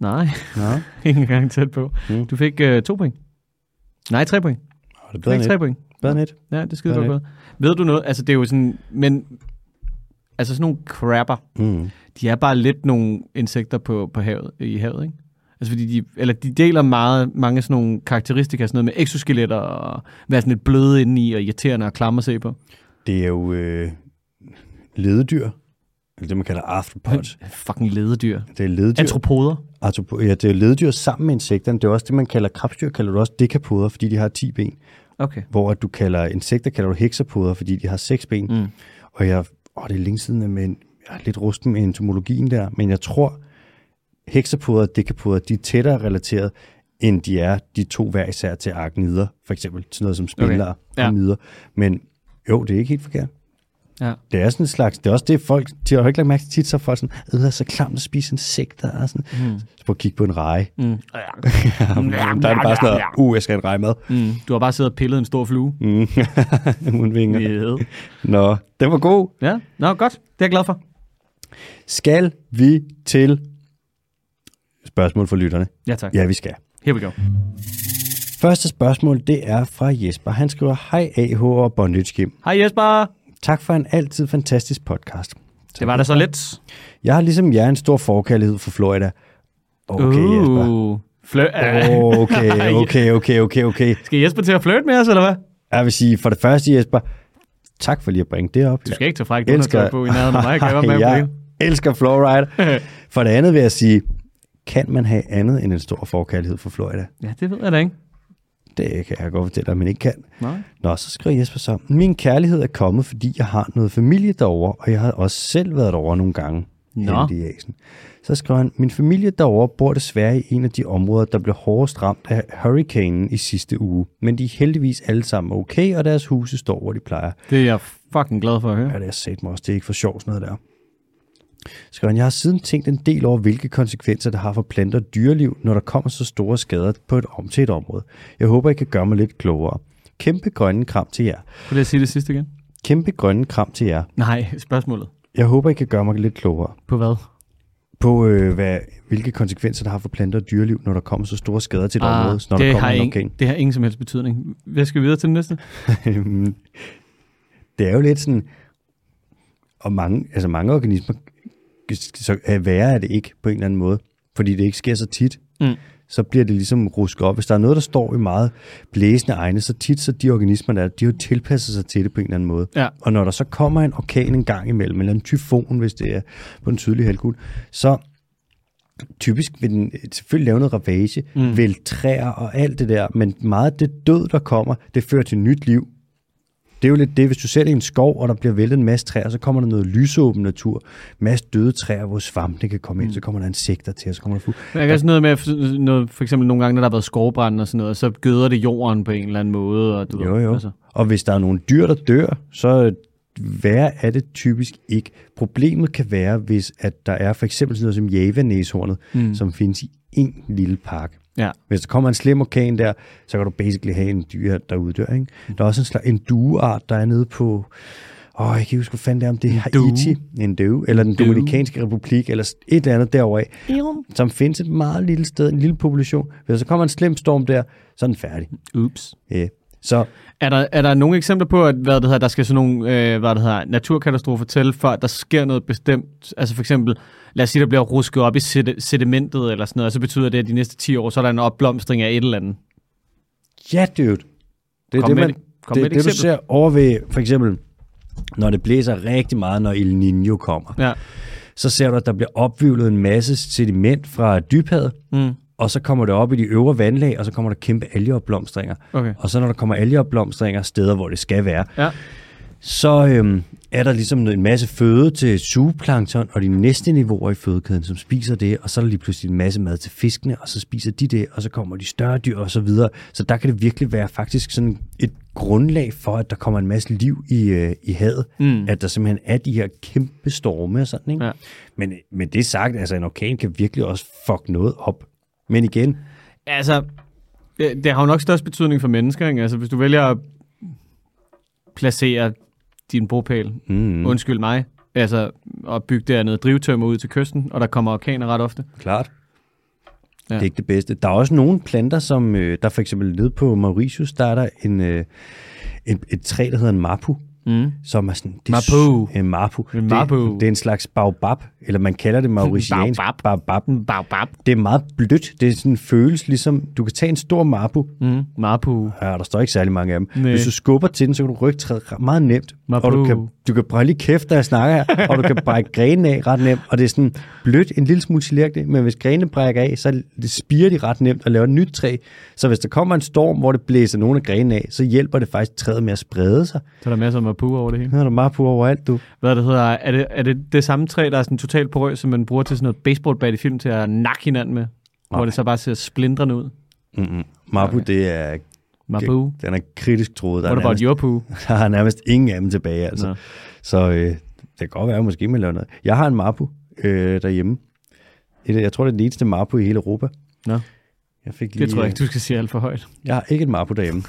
B: Nej,
A: Nå,
B: ikke engang tæt på.
A: Mm.
B: Du fik øh, to point. Nej, tre point.
A: og det er
B: Du
A: bedre
B: fik
A: end
B: tre
A: et.
B: point.
A: Bedre end et.
B: Ja, det er skide
A: Hvad
B: godt
A: er
B: gået. Ved du noget? Altså, det er jo sådan... Men... Altså, sådan nogle crapper,
A: Mm.
B: de er bare lidt nogle insekter på, på havet, i havet, ikke? Altså, fordi de, eller de deler meget, mange sådan nogle karakteristika, sådan noget med exoskeletter og være sådan lidt bløde indeni og irriterende og klamme at se på.
A: Det er jo øh, lededyr. Eller det, man kalder arthropods.
B: Fucking lededyr.
A: Det er lededyr.
B: Antropoder.
A: Arthropo- ja, det er lededyr sammen med insekterne. Det er også det, man kalder krabstyr, kalder du også dekapoder, fordi de har 10 ben.
B: Okay.
A: hvor at du kalder insekter, kalder du heksapoder, fordi de har seks ben.
B: Mm.
A: Mm. Og jeg, åh, det er længe siden, men jeg er lidt rusten med entomologien der, men jeg tror, heksapoder og dekapoder, de er tættere relateret end de er de to hver især til arknider, for eksempel til noget som spillere okay.
B: Ja.
A: og mider. Men jo, det er ikke helt forkert.
B: Ja.
A: Det er sådan en slags, det er også det folk, de har jo ikke lagt mærke til tit, så er folk sådan, øh, det er så klamt at spise insekter, og sådan, mm. så prøv at kigge på en reje. Mm. der er det bare sådan noget, uh, jeg skal have en rejemad.
B: Mm, du har bare siddet og pillet en stor flue. Mm.
A: Mm. Hun vinker. Yeah. Nå, den var god.
B: Ja, nå godt. Det er jeg glad for.
A: Skal vi til spørgsmål for lytterne?
B: Ja tak.
A: Ja, vi skal.
B: Here we go.
A: Første spørgsmål, det er fra Jesper. Han skriver, hej AH og Bondage Gym.
B: Hej Jesper.
A: Tak for en altid fantastisk podcast.
B: Det var da så lidt.
A: Jeg har ligesom jer en stor forkærlighed for Florida. Okay, uh. Jesper.
B: Uh, flø- uh.
A: Okay, okay, okay, okay, okay.
B: Skal Jesper til at flirte med os, eller hvad?
A: Jeg vil sige, for det første, Jesper, tak for lige at bringe det op.
B: Du skal ikke tage frækt undertøj på i nærheden af mig. Kan jeg godt mærke på
A: jeg
B: det?
A: elsker Florida. For det andet vil jeg sige, kan man have andet end en stor forkærlighed for Florida?
B: Ja, det ved jeg da ikke.
A: Det kan jeg godt fortælle dig, man ikke kan.
B: Nej.
A: Nå, så skriver Jesper så, min kærlighed er kommet, fordi jeg har noget familie derovre, og jeg har også selv været derovre nogle gange.
B: Nå.
A: heldige Asen. Så skriver han, min familie derovre bor desværre i en af de områder, der blev hårdest ramt af hurricanen i sidste uge. Men de er heldigvis alle sammen okay, og deres huse står, hvor de plejer.
B: Det er jeg fucking glad for at høre.
A: Ja, det er sat mig også. Det er ikke for sjovt, sådan noget der. Skriver han, jeg har siden tænkt en del over, hvilke konsekvenser det har for planter og dyreliv, når der kommer så store skader på et om til et område. Jeg håber, I kan gøre mig lidt klogere. Kæmpe grønne kram til jer.
B: Kunne jeg sige det sidste igen?
A: Kæmpe grønne kram til jer.
B: Nej, spørgsmålet.
A: Jeg håber, I kan gøre mig lidt klogere
B: På hvad?
A: på, øh, hvad, hvilke konsekvenser det har for planter og dyreliv, når der kommer så store skader til et ah, område, når der
B: det,
A: kommer
B: har
A: en
B: ingen,
A: orkan.
B: det har ingen som helst betydning. Hvad skal vi videre til den næste?
A: det er jo lidt sådan, og mange, altså mange organismer, så er værre er det ikke på en eller anden måde, fordi det ikke sker så tit.
B: Mm.
A: Så bliver det ligesom rusket op. Hvis der er noget, der står i meget blæsende egne, så tit så de organismer, der er, de har jo tilpasset sig til det på en eller anden måde.
B: Ja.
A: Og når der så kommer en orkan en gang imellem, eller en tyfon, hvis det er på den sydlige halvkugle, så typisk vil den selvfølgelig lave noget ravage, mm. vel træer og alt det der, men meget af det død, der kommer, det fører til nyt liv. Det er jo lidt det, hvis du sætter i en skov, og der bliver væltet en masse træer, så kommer der noget lysåben natur, masse døde træer, hvor svampene kan komme ind, så kommer der insekter til, og så kommer der fugle.
B: Jeg kan også noget med, at f- noget, for eksempel nogle gange, når der har været skovbrand og sådan noget, så gøder det jorden på en eller anden måde. Og du
A: Jo,
B: ved,
A: jo.
B: Altså,
A: Og hvis der er nogle dyr, der dør, så hvad er det typisk ikke. Problemet kan være, hvis at der er for eksempel sådan noget som javanæshornet, mm. som findes i en lille park.
B: ja.
A: Hvis der kommer en slem orkan der, så kan du basically have en dyr, der uddør. Ikke? Der er også en, slags, en dueart, der er nede på... Åh, jeg kan ikke huske, hvad fanden det er, om det er
B: due.
A: Haiti, en døve, eller den
B: due.
A: Dominikanske Republik, eller et eller andet derovre, som findes et meget lille sted, en lille population. Hvis der så kommer en slem storm der, så er den færdig.
B: Ups.
A: Yeah. Så
B: Er der, er der nogle eksempler på, at hvad det hedder, der skal sådan nogle øh, hvad det hedder, naturkatastrofer til, før der sker noget bestemt? Altså for eksempel, lad os sige, der bliver rusket op i sed- sedimentet eller sådan noget, og så betyder det, at de næste 10 år, så er der en opblomstring af et eller andet.
A: ja, dude. Det er
B: Kom
A: det,
B: med
A: man,
B: et- kom
A: det,
B: med et
A: det, det, du
B: eksempel.
A: ser over ved, for eksempel, når det blæser rigtig meget, når El Niño kommer.
B: Ja.
A: så ser du, at der bliver opvivlet en masse sediment fra dybhavet, mm. og så kommer det op i de øvre vandlag, og så kommer der kæmpe algeopblomstringer.
B: Okay.
A: Og så når der kommer algeopblomstringer steder, hvor det skal være,
B: Ja.
A: så øhm, er der ligesom en masse føde til sugeplankton og de næste niveauer i fødekæden, som spiser det, og så er der lige pludselig en masse mad til fiskene, og så spiser de det, og så kommer de større dyr og så videre. Så der kan det virkelig være faktisk sådan et grundlag for, at der kommer en masse liv i, øh, i havet, mm. at der simpelthen er de her kæmpe storme og sådan, ikke?
B: Ja.
A: Men med det sagt, altså en orkan kan virkelig også fuck noget op. Men igen,
B: Altså, det, det har jo nok størst betydning for mennesker, ikke? Altså, hvis du vælger at placere din bropæl, mm. undskyld mig, altså at bygge dernede drivtømmer ud til kysten, og der kommer orkaner ret ofte.
A: Klart. Ja.
B: Ja.
A: Det er ikke det bedste. Der er også nogle planter, som øh, der for eksempel nede på Mauritius, der er der en, øh, en, et træ, der hedder en mapu. Mm. Som er sådan, det
B: Mapu.
A: Er, en mapu.
B: En mapu.
A: Det, det er en slags baobab, eller man kalder det mauritiansk
B: Baobab.
A: baobab.
B: Babab.
A: Det er meget blødt. Det er sådan en følelse, ligesom du kan tage en stor mapu.
B: Mm. Mapu.
A: Ja, der står ikke særlig mange af dem.
B: Næ.
A: Hvis du skubber til den, så kan du rykke træet ret- meget nemt.
B: Mapu.
A: Og du kan, du kan brække lige kæft, da jeg snakker her, og du kan brække grenen af ret nemt. Og det er sådan blødt, en lille smule gelærkende, men hvis grenene brækker af, så spiger de ret nemt og laver et nyt træ. Så hvis der kommer en storm, hvor det blæser nogle af grenene af, så hjælper det faktisk træet med at sprede sig.
B: Så er der masser af mapu over det hele.
A: Nu er der mapu overalt, du.
B: Hvad det hedder, er det, er det det samme træ, der er sådan totalt porøs, som man bruger til sådan noget baseballbat i film til at nakke hinanden med? Hvor det så bare ser splindrende ud.
A: Mm-mm. Mapu, okay.
B: Okay.
A: det er,
B: Mabu?
A: den er kritisk troet. Der er,
B: What about
A: nærmest,
B: your poo?
A: der er nærmest ingen af dem tilbage. Altså.
B: Nå.
A: Så øh, det kan godt være, at måske man laver noget. Jeg har en Mapu øh, derhjemme. Et, jeg tror, det er den eneste Mapu i hele Europa.
B: Nå.
A: Jeg fik lige,
B: Det tror jeg ikke, du skal sige alt for højt.
A: Jeg har ikke et Mapu derhjemme.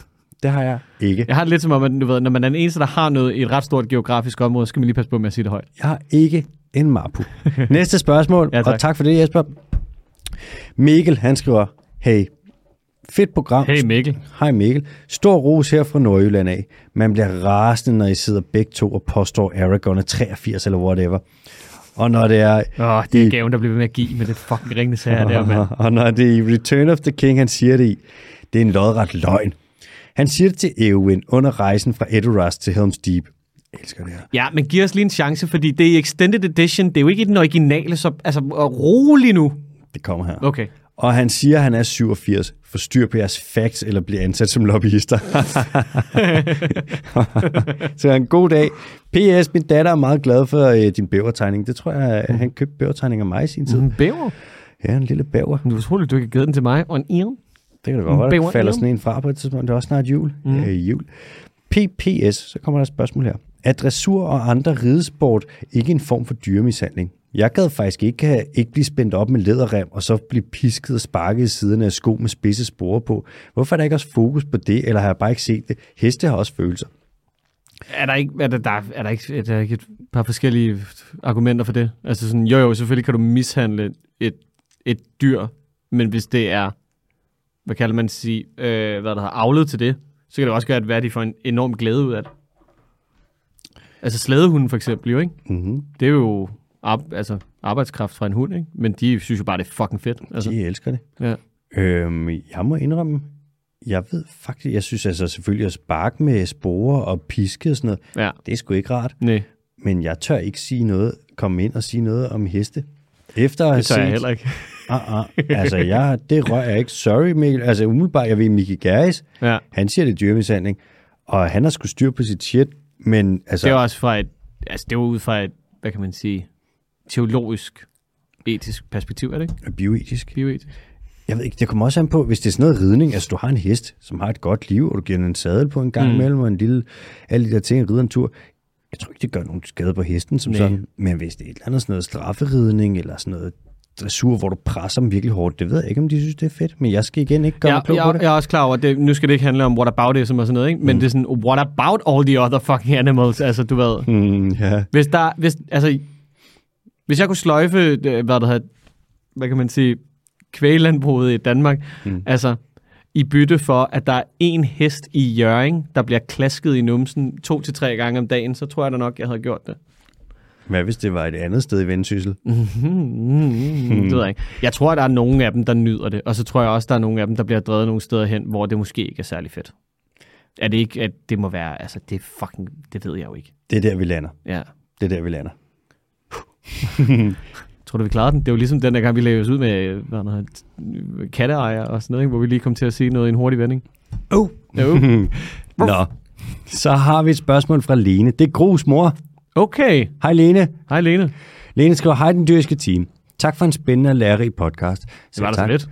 A: Det har jeg ikke.
B: Jeg har det lidt som om, at du ved, når man er den eneste, der har noget i et ret stort geografisk område, så skal man lige passe på med at sige det højt.
A: Jeg har ikke en Mapu. Næste spørgsmål,
B: Ja,
A: ja,
B: tak.
A: tak. og tak for det, Jesper. Mikkel, han skriver, hey, fedt program.
B: Hey Mikkel.
A: Hej Mikkel. Stor ros her fra Nordjylland af. Man bliver rasende, når I sidder begge to og påstår Aragon er 83 eller whatever. Og når det er...
B: Åh, oh, det er
A: I-
B: gaven, der bliver ved med at give med det fucking ringende sager der, mand.
A: og når det er i Return of the King, han siger det i, det er en lodret løgn. Han siger det til Eowyn under rejsen fra Edoras til Helm's Deep. Jeg elsker det her.
B: Ja, men giv os lige en chance, fordi det er i Extended Edition. Det er jo ikke i den originale, så altså, og rolig nu.
A: Det kommer her.
B: Okay.
A: Og han siger, at han er 87. Forstyr på jeres facts, eller bliver ansat som lobbyister. så en god dag. P.S. Min datter er meget glad for øh, din bævertegning. Det tror jeg, at han købte bævertegning af mig i sin tid.
B: En bæver?
A: Ja, en lille bæver.
B: Du er troligt, du ikke har givet den til mig. Og en iron.
A: Det kan da godt være,
B: Bæver,
A: der falder
B: ja.
A: sådan en fra på et tidspunkt. Det er også snart jul. Mm. Øh, jul. PPS, så kommer der et spørgsmål her. Er dressur og andre ridesport ikke en form for dyremishandling? Jeg gad faktisk ikke, have, ikke blive spændt op med læderrem, og så blive pisket og sparket i siderne af sko med spidse sporer på. Hvorfor er der ikke også fokus på det, eller har jeg bare ikke set det? Heste har også følelser.
B: Er der ikke, er der, der, er der ikke, er der ikke et par forskellige argumenter for det? Altså sådan, jo jo, selvfølgelig kan du mishandle et, et dyr, men hvis det er, hvad kalder man sige, øh, hvad der har avlet til det, så kan det også gøre, at hvad de får en enorm glæde ud af det. Altså slædehunden for eksempel jo, ikke?
A: Mm-hmm.
B: Det er jo ar- altså, arbejdskraft fra en hund, ikke? Men de synes jo bare, det er fucking fedt. Altså,
A: De elsker det.
B: ja.
A: Øhm, jeg må indrømme, jeg ved faktisk, jeg synes altså selvfølgelig at sparke med sporer og piske og sådan noget,
B: ja.
A: det er sgu ikke rart.
B: Nej,
A: men jeg tør ikke sige noget, komme ind og sige noget om heste. Efter at have
B: det tør
A: set,
B: jeg heller ikke.
A: Ah, ah, altså, jeg, det rører jeg ikke. Sorry, Mikkel. Altså, umiddelbart, jeg ved, Miki Gerris,
B: Ja.
A: han siger, det er dyremishandling, og han har skulle styr på sit shit, men altså,
B: Det
A: det
B: var
A: var...
B: også fra et, altså det var ud fra et, hvad kan man sige, teologisk, etisk perspektiv, er det ikke?
A: bioetisk.
B: Bioetisk.
A: Jeg ved ikke, det kommer også an på, hvis det er sådan noget ridning, altså du har en hest, som har et godt liv, og du giver den en sadel på en gang mm. imellem, og en lille, alle de der ting, rider en tur. Jeg tror ikke, det gør nogen skade på hesten som
B: Nej.
A: Nej. sådan, men hvis det er et eller andet sådan noget strafferidning, eller sådan noget dressur, hvor du presser dem virkelig hårdt, det ved jeg ikke, om de synes, det er fedt, men jeg skal igen ikke gøre ja,
B: Jeg,
A: mig klog på
B: jeg,
A: det.
B: jeg er også klar over, at det, nu skal det ikke handle om what about det, som og sådan noget, ikke? men mm. det er sådan, what about all the other fucking animals, altså du ved.
A: Mm, ja.
B: Hvis der, hvis, altså, hvis jeg kunne sløjfe, øh, hvad der hedder, hvad kan man sige, kvælandbruget i Danmark, mm. altså i bytte for, at der er en hest i Jøring, der bliver klasket i numsen to til tre gange om dagen, så tror jeg da nok, jeg havde gjort det.
A: Hvad hvis det var et andet sted i vendsyssel?
B: Mm. Det ved jeg ikke. Jeg tror, der er nogen af dem, der nyder det, og så tror jeg også, der er nogen af dem, der bliver drevet nogle steder hen, hvor det måske ikke er særlig fedt. Er det ikke, at det må være, altså det er fucking, det ved jeg jo ikke.
A: Det er der, vi lander.
B: Ja.
A: Det er der, vi lander.
B: Tror du, vi klarede den? Det var ligesom den der gang, vi lavede os ud med øh, hvad der hedder, øh, katteejer og sådan noget, ikke? hvor vi lige kom til at sige noget i en hurtig vending.
A: Oh.
B: Jo.
A: Nå, så har vi et spørgsmål fra Lene. Det er Grus mor.
B: Okay.
A: Hej Lene.
B: Hej Lene.
A: Lene skriver, hej den dyriske team. Tak for en spændende og lærerig podcast.
B: Det var da så
A: tak.
B: lidt.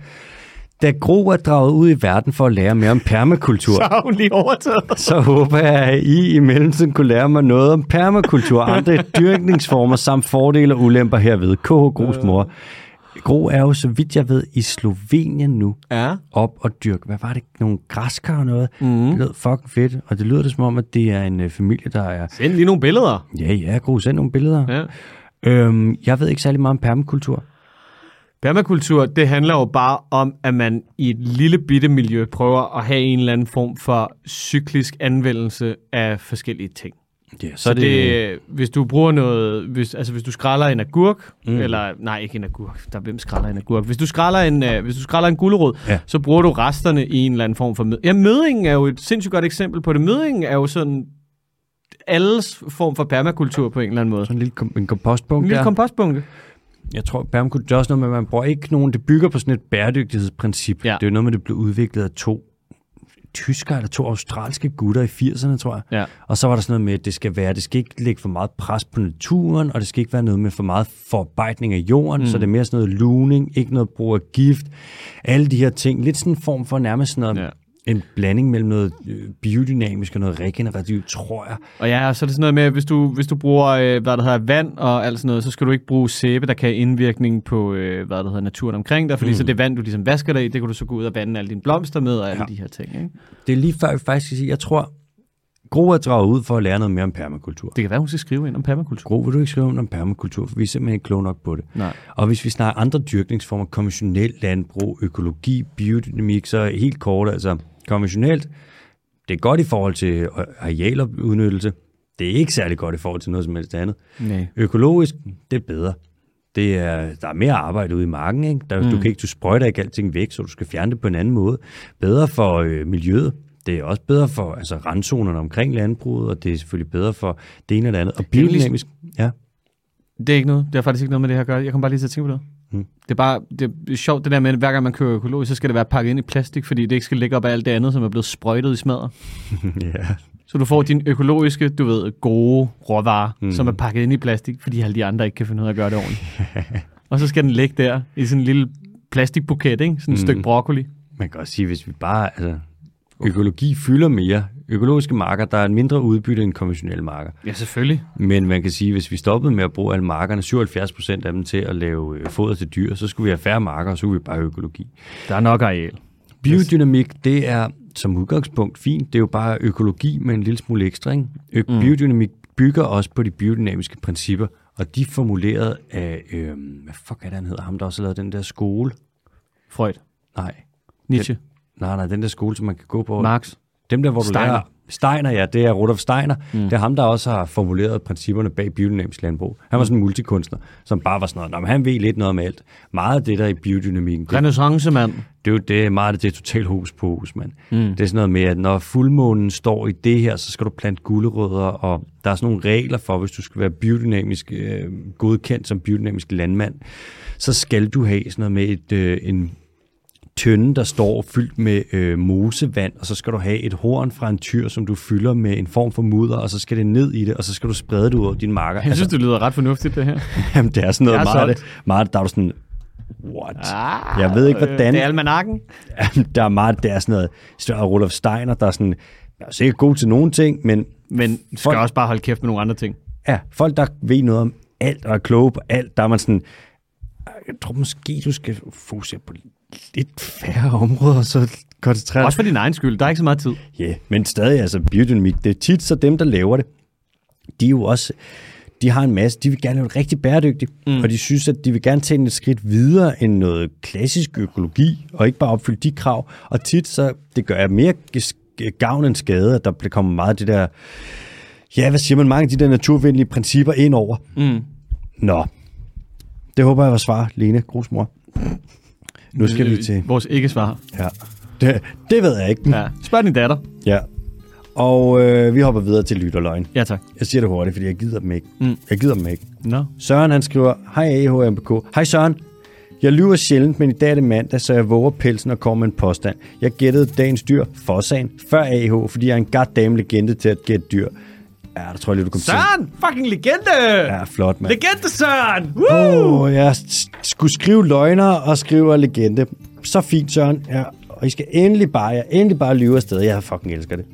A: Da Gro er draget ud i verden for at lære mere om permakultur,
B: har hun lige overtaget.
A: så håber jeg, at I i mellemtiden kunne lære mig noget om permakultur, andre dyrkningsformer samt fordele og ulemper herved. KH Gros mor.
B: Øh.
A: Gro er jo, så vidt jeg ved, i Slovenien nu
B: Ja.
A: op og dyrke, hvad var det, nogle græskar og noget.
B: Mhm.
A: Mm. Det lød fucking fedt, og det lyder det som om, at det er en øh, familie, der er...
B: Send lige nogle billeder.
A: Ja, ja, Gro, send nogle billeder.
B: Ja.
A: Øhm, jeg ved ikke særlig meget om permakultur.
B: Permakultur, det handler jo bare om, at man i et lille bitte miljø prøver at have en eller anden form for cyklisk anvendelse af forskellige ting.
A: Ja, så,
B: Så det, øh, hvis du bruger noget, hvis, altså hvis du skræller en agurk, mm. eller nej, ikke en agurk, der hvem skræller en agurk? Hvis du skræller en, øh, hvis du skræller en gulerod, ja.
A: Ja.
B: så bruger du resterne i en eller anden form for mød. Ja, mødingen er jo et sindssygt godt eksempel på det. Mødingen er jo sådan alles form for permakultur på en eller anden måde.
A: Sådan en lille kom- en kompostbunke.
B: En lille
A: der.
B: kompostbunke.
A: jeg tror, permakultur er også noget med, at man bruger ikke nogen... Det bygger på sådan et bæredygtighedsprincip.
B: Ja.
A: Det er jo noget med, at det blev udviklet af to tyskere eller to australske gutter i 80'erne, tror jeg.
B: Ja.
A: Og så var der sådan noget med, at det skal være, det skal ikke lægge for meget pres på naturen, og det skal ikke være noget med for meget forarbejdning af jorden, mm. så det er mere sådan noget luning, ikke noget brug af gift, alle de her ting. Lidt sådan en form for nærmest sådan noget, ja. en blanding mellem noget øh, biodynamisk og noget regenerativt, tror jeg.
B: Og ja, så er det sådan noget med, at hvis du, hvis du bruger, øh, hvad der hedder, vand og alt sådan noget, så skal du ikke bruge sæbe, der kan have indvirkning på, øh, hvad der hedder, naturen omkring dig, fordi mm. så det vand, du ligesom vasker dig i, det kan du så gå ud og vande alle dine blomster med og alle ja. de her ting. Ikke?
A: Det er lige før, jeg faktisk skal sige, jeg tror, Gro er draget ud for at lære noget mere om permakultur.
B: Det kan være, hun skal skrive ind om permakultur.
A: Gro, vil du ikke skrive om permakultur, for vi er simpelthen ikke kloge nok på det.
B: Nej.
A: Og hvis vi snakker andre dyrkningsformer, konventionel landbrug, økologi, biodynamik, så helt kort, altså konventionelt, det er godt i forhold til arealudnyttelse. Det er ikke særlig godt i forhold til noget som helst andet.
B: Nej.
A: Økologisk, det er bedre. Det er, der er mere arbejde ude i marken. Ikke? Der, mm. Du kan ikke, du sprøjter ikke alting væk, så du skal fjerne det på en anden måde. Bedre for øh, miljøet. Det er også bedre for altså, randzonerne omkring landbruget, og det er selvfølgelig bedre for det ene og det andet. Og
B: er jo
A: biodynamisk, ja.
B: Det er ikke noget. Det har faktisk ikke noget med det her at gøre. Jeg kom bare lige til at tænke på det.
A: Mm.
B: Mm. Det er bare det er sjovt, det der med, at hver gang man kører økologisk, så skal det være pakket ind i plastik, fordi det ikke skal ligge op af alt det andet, som er blevet sprøjtet i smadder.
A: ja.
B: Så du får din økologiske, du ved, gode råvarer, mm. som er pakket ind i plastik, fordi alle de andre ikke kan finde ud af at gøre det ordentligt. og så skal den ligge der i sådan en lille plastikbuket, ikke? Sådan et mm. stykke broccoli.
A: Man kan også sige, hvis vi bare, altså, økologi fylder mere. Økologiske marker, der er en mindre udbytte end konventionelle marker.
B: Ja, selvfølgelig.
A: Men man kan sige, hvis vi stoppede med at bruge alle markerne, 77 procent af dem til at lave øh, foder til dyr, så skulle vi have færre marker, og så kunne vi bare have økologi.
B: Der er nok areal.
A: Biodynamik, det er som udgangspunkt fint. Det er jo bare økologi med en lille smule ekstra. Ikke? Ø- mm. Biodynamik bygger også på de biodynamiske principper, og de er formuleret af, øh, hvad fuck er det, han hedder? Ham, der også har lavet den der skole?
B: Freud.
A: Nej.
B: Nietzsche.
A: Nej, nej, den der skole, som man kan gå på.
B: Marx.
A: Dem der, hvor du
B: Steiner.
A: lærer... Steiner, ja, det er Rudolf Steiner. Mm. Det er ham, der også har formuleret principperne bag biodynamisk landbrug. Han var sådan en multikunstner, som bare var sådan noget, "Nå, men han ved lidt noget om alt. Meget af det der i biodynamikken, det,
B: Renaissance, mand.
A: det er jo det, meget af det er totalt hus på hus, mand. Mm. Det er sådan noget med, at når fuldmånen står i det her, så skal du plante gulerødder, og der er sådan nogle regler for, hvis du skal være biodynamisk øh, godkendt som biodynamisk landmand, så skal du have sådan noget med et, øh, en tønde, der står fyldt med øh, mosevand, og så skal du have et horn fra en tyr, som du fylder med en form for mudder, og så skal det ned i det, og så skal du sprede det ud over dine marker.
B: Jeg synes, det lyder ret fornuftigt, det her.
A: Jamen, det er sådan noget
B: Jeg er
A: meget, af det, meget, af det, der er du sådan, what? Ah, jeg ved ikke, hvordan.
B: Det er almanakken.
A: Jamen, der er meget, der er sådan noget større Rudolf Steiner, der er sådan, jeg er sikkert god til nogle ting, men
B: Men du skal
A: Folk-
B: også bare holde kæft med nogle andre ting.
A: ja, folk, der ved noget om alt og er kloge på alt, der er man sådan, jeg tror måske, du skal fokusere på lidt færre områder, og så koncentrere dig
B: Også for din egen skyld. Der er ikke så meget tid.
A: Ja, yeah, men stadig altså biodynamik. Det er tit så dem, der laver det, de er jo også, de har en masse, de vil gerne lave det rigtig bæredygtigt, mm. og de synes, at de vil gerne tage den et skridt videre end noget klassisk økologi, og ikke bare opfylde de krav. Og tit så, det gør jeg mere ges- gavn end skade, at der bliver- kommer meget af det der, ja, hvad siger man, mange af de der naturvenlige principper ind over.
B: Mm.
A: Nå, det håber jeg var svar, Lene Grusmor. Nu skal vi til,
B: Øh, Vores ikke-svar.
A: ja, det, det ved jeg ikke.
B: Ja. Spørg din datter.
A: Ja. Og øh, vi hopper videre til lytterløgn.
B: Ja, tak.
A: Jeg siger det hurtigt, fordi jeg gider dem ikke. Mm. Jeg gider dem ikke.
B: Nå.
A: Søren han skriver, Hej AHMBK. Hej Søren. Jeg lyver sjældent, men i dag er det mandag, så jeg våger pelsen og kommer med en påstand. Jeg gættede dagens dyr, Fossan, før AH, fordi jeg er en goddamn legende til at gætte dyr. Ja, der tror jeg lige, du kom til.
B: Søren! Fucking legende!
A: Ja, flot, mand.
B: Legende, Søren!
A: Åh, oh, jeg s- skulle skrive løgner og skriver legende. Så fint, Søren. Ja, og I skal endelig bare, jeg endelig bare lyve afsted. Jeg fucking elsker det.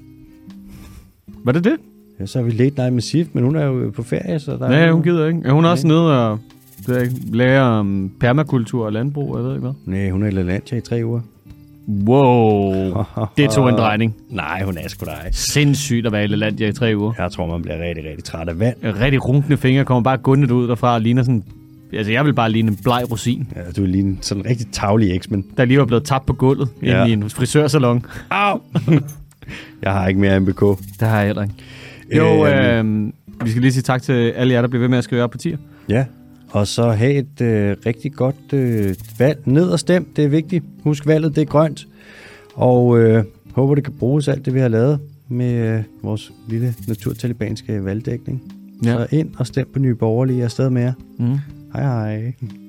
B: Var det det?
A: Ja, så har vi Late Night med Sif, men hun er jo på ferie, så der
B: Nej,
A: er
B: hun gider ikke. Ja, Hun er også nede og det ved jeg ikke, lærer om permakultur og landbrug, jeg ved ikke hvad.
A: Nej, hun er i Lalandia i tre uger.
B: Wow, det tog en drejning.
A: Nej, hun er sgu da ej.
B: Sindssygt at være i Lalandia i tre uger.
A: Jeg tror, man bliver rigtig, rigtig træt af vand.
B: Rigtig runkende fingre kommer bare gundet ud derfra og ligner sådan... Altså, jeg vil bare ligne en bleg rosin,
A: Ja, du er lige en sådan rigtig tavlig eks, men...
B: der lige var blevet tabt på gulvet
A: Ja.
B: ja. inde i en frisørsalon.
A: Au! jeg har ikke mere MBK.
B: Det har jeg heller ikke. Jo, øh, vi skal lige sige tak til alle jer, der bliver ved med at skrive op på tier.
A: Ja, og så have et øh, rigtig godt øh, valg. Ned og stem, det er vigtigt. Husk, valget det er grønt. Og øh, håber, det kan bruges alt det, vi har lavet med øh, vores lille naturtalibanske valgdækning. Ja.
B: Ja.
A: Så ind og stem på Nye Borgerlige. Jeg er stadig med jer.
B: Mm.
A: Hej hej.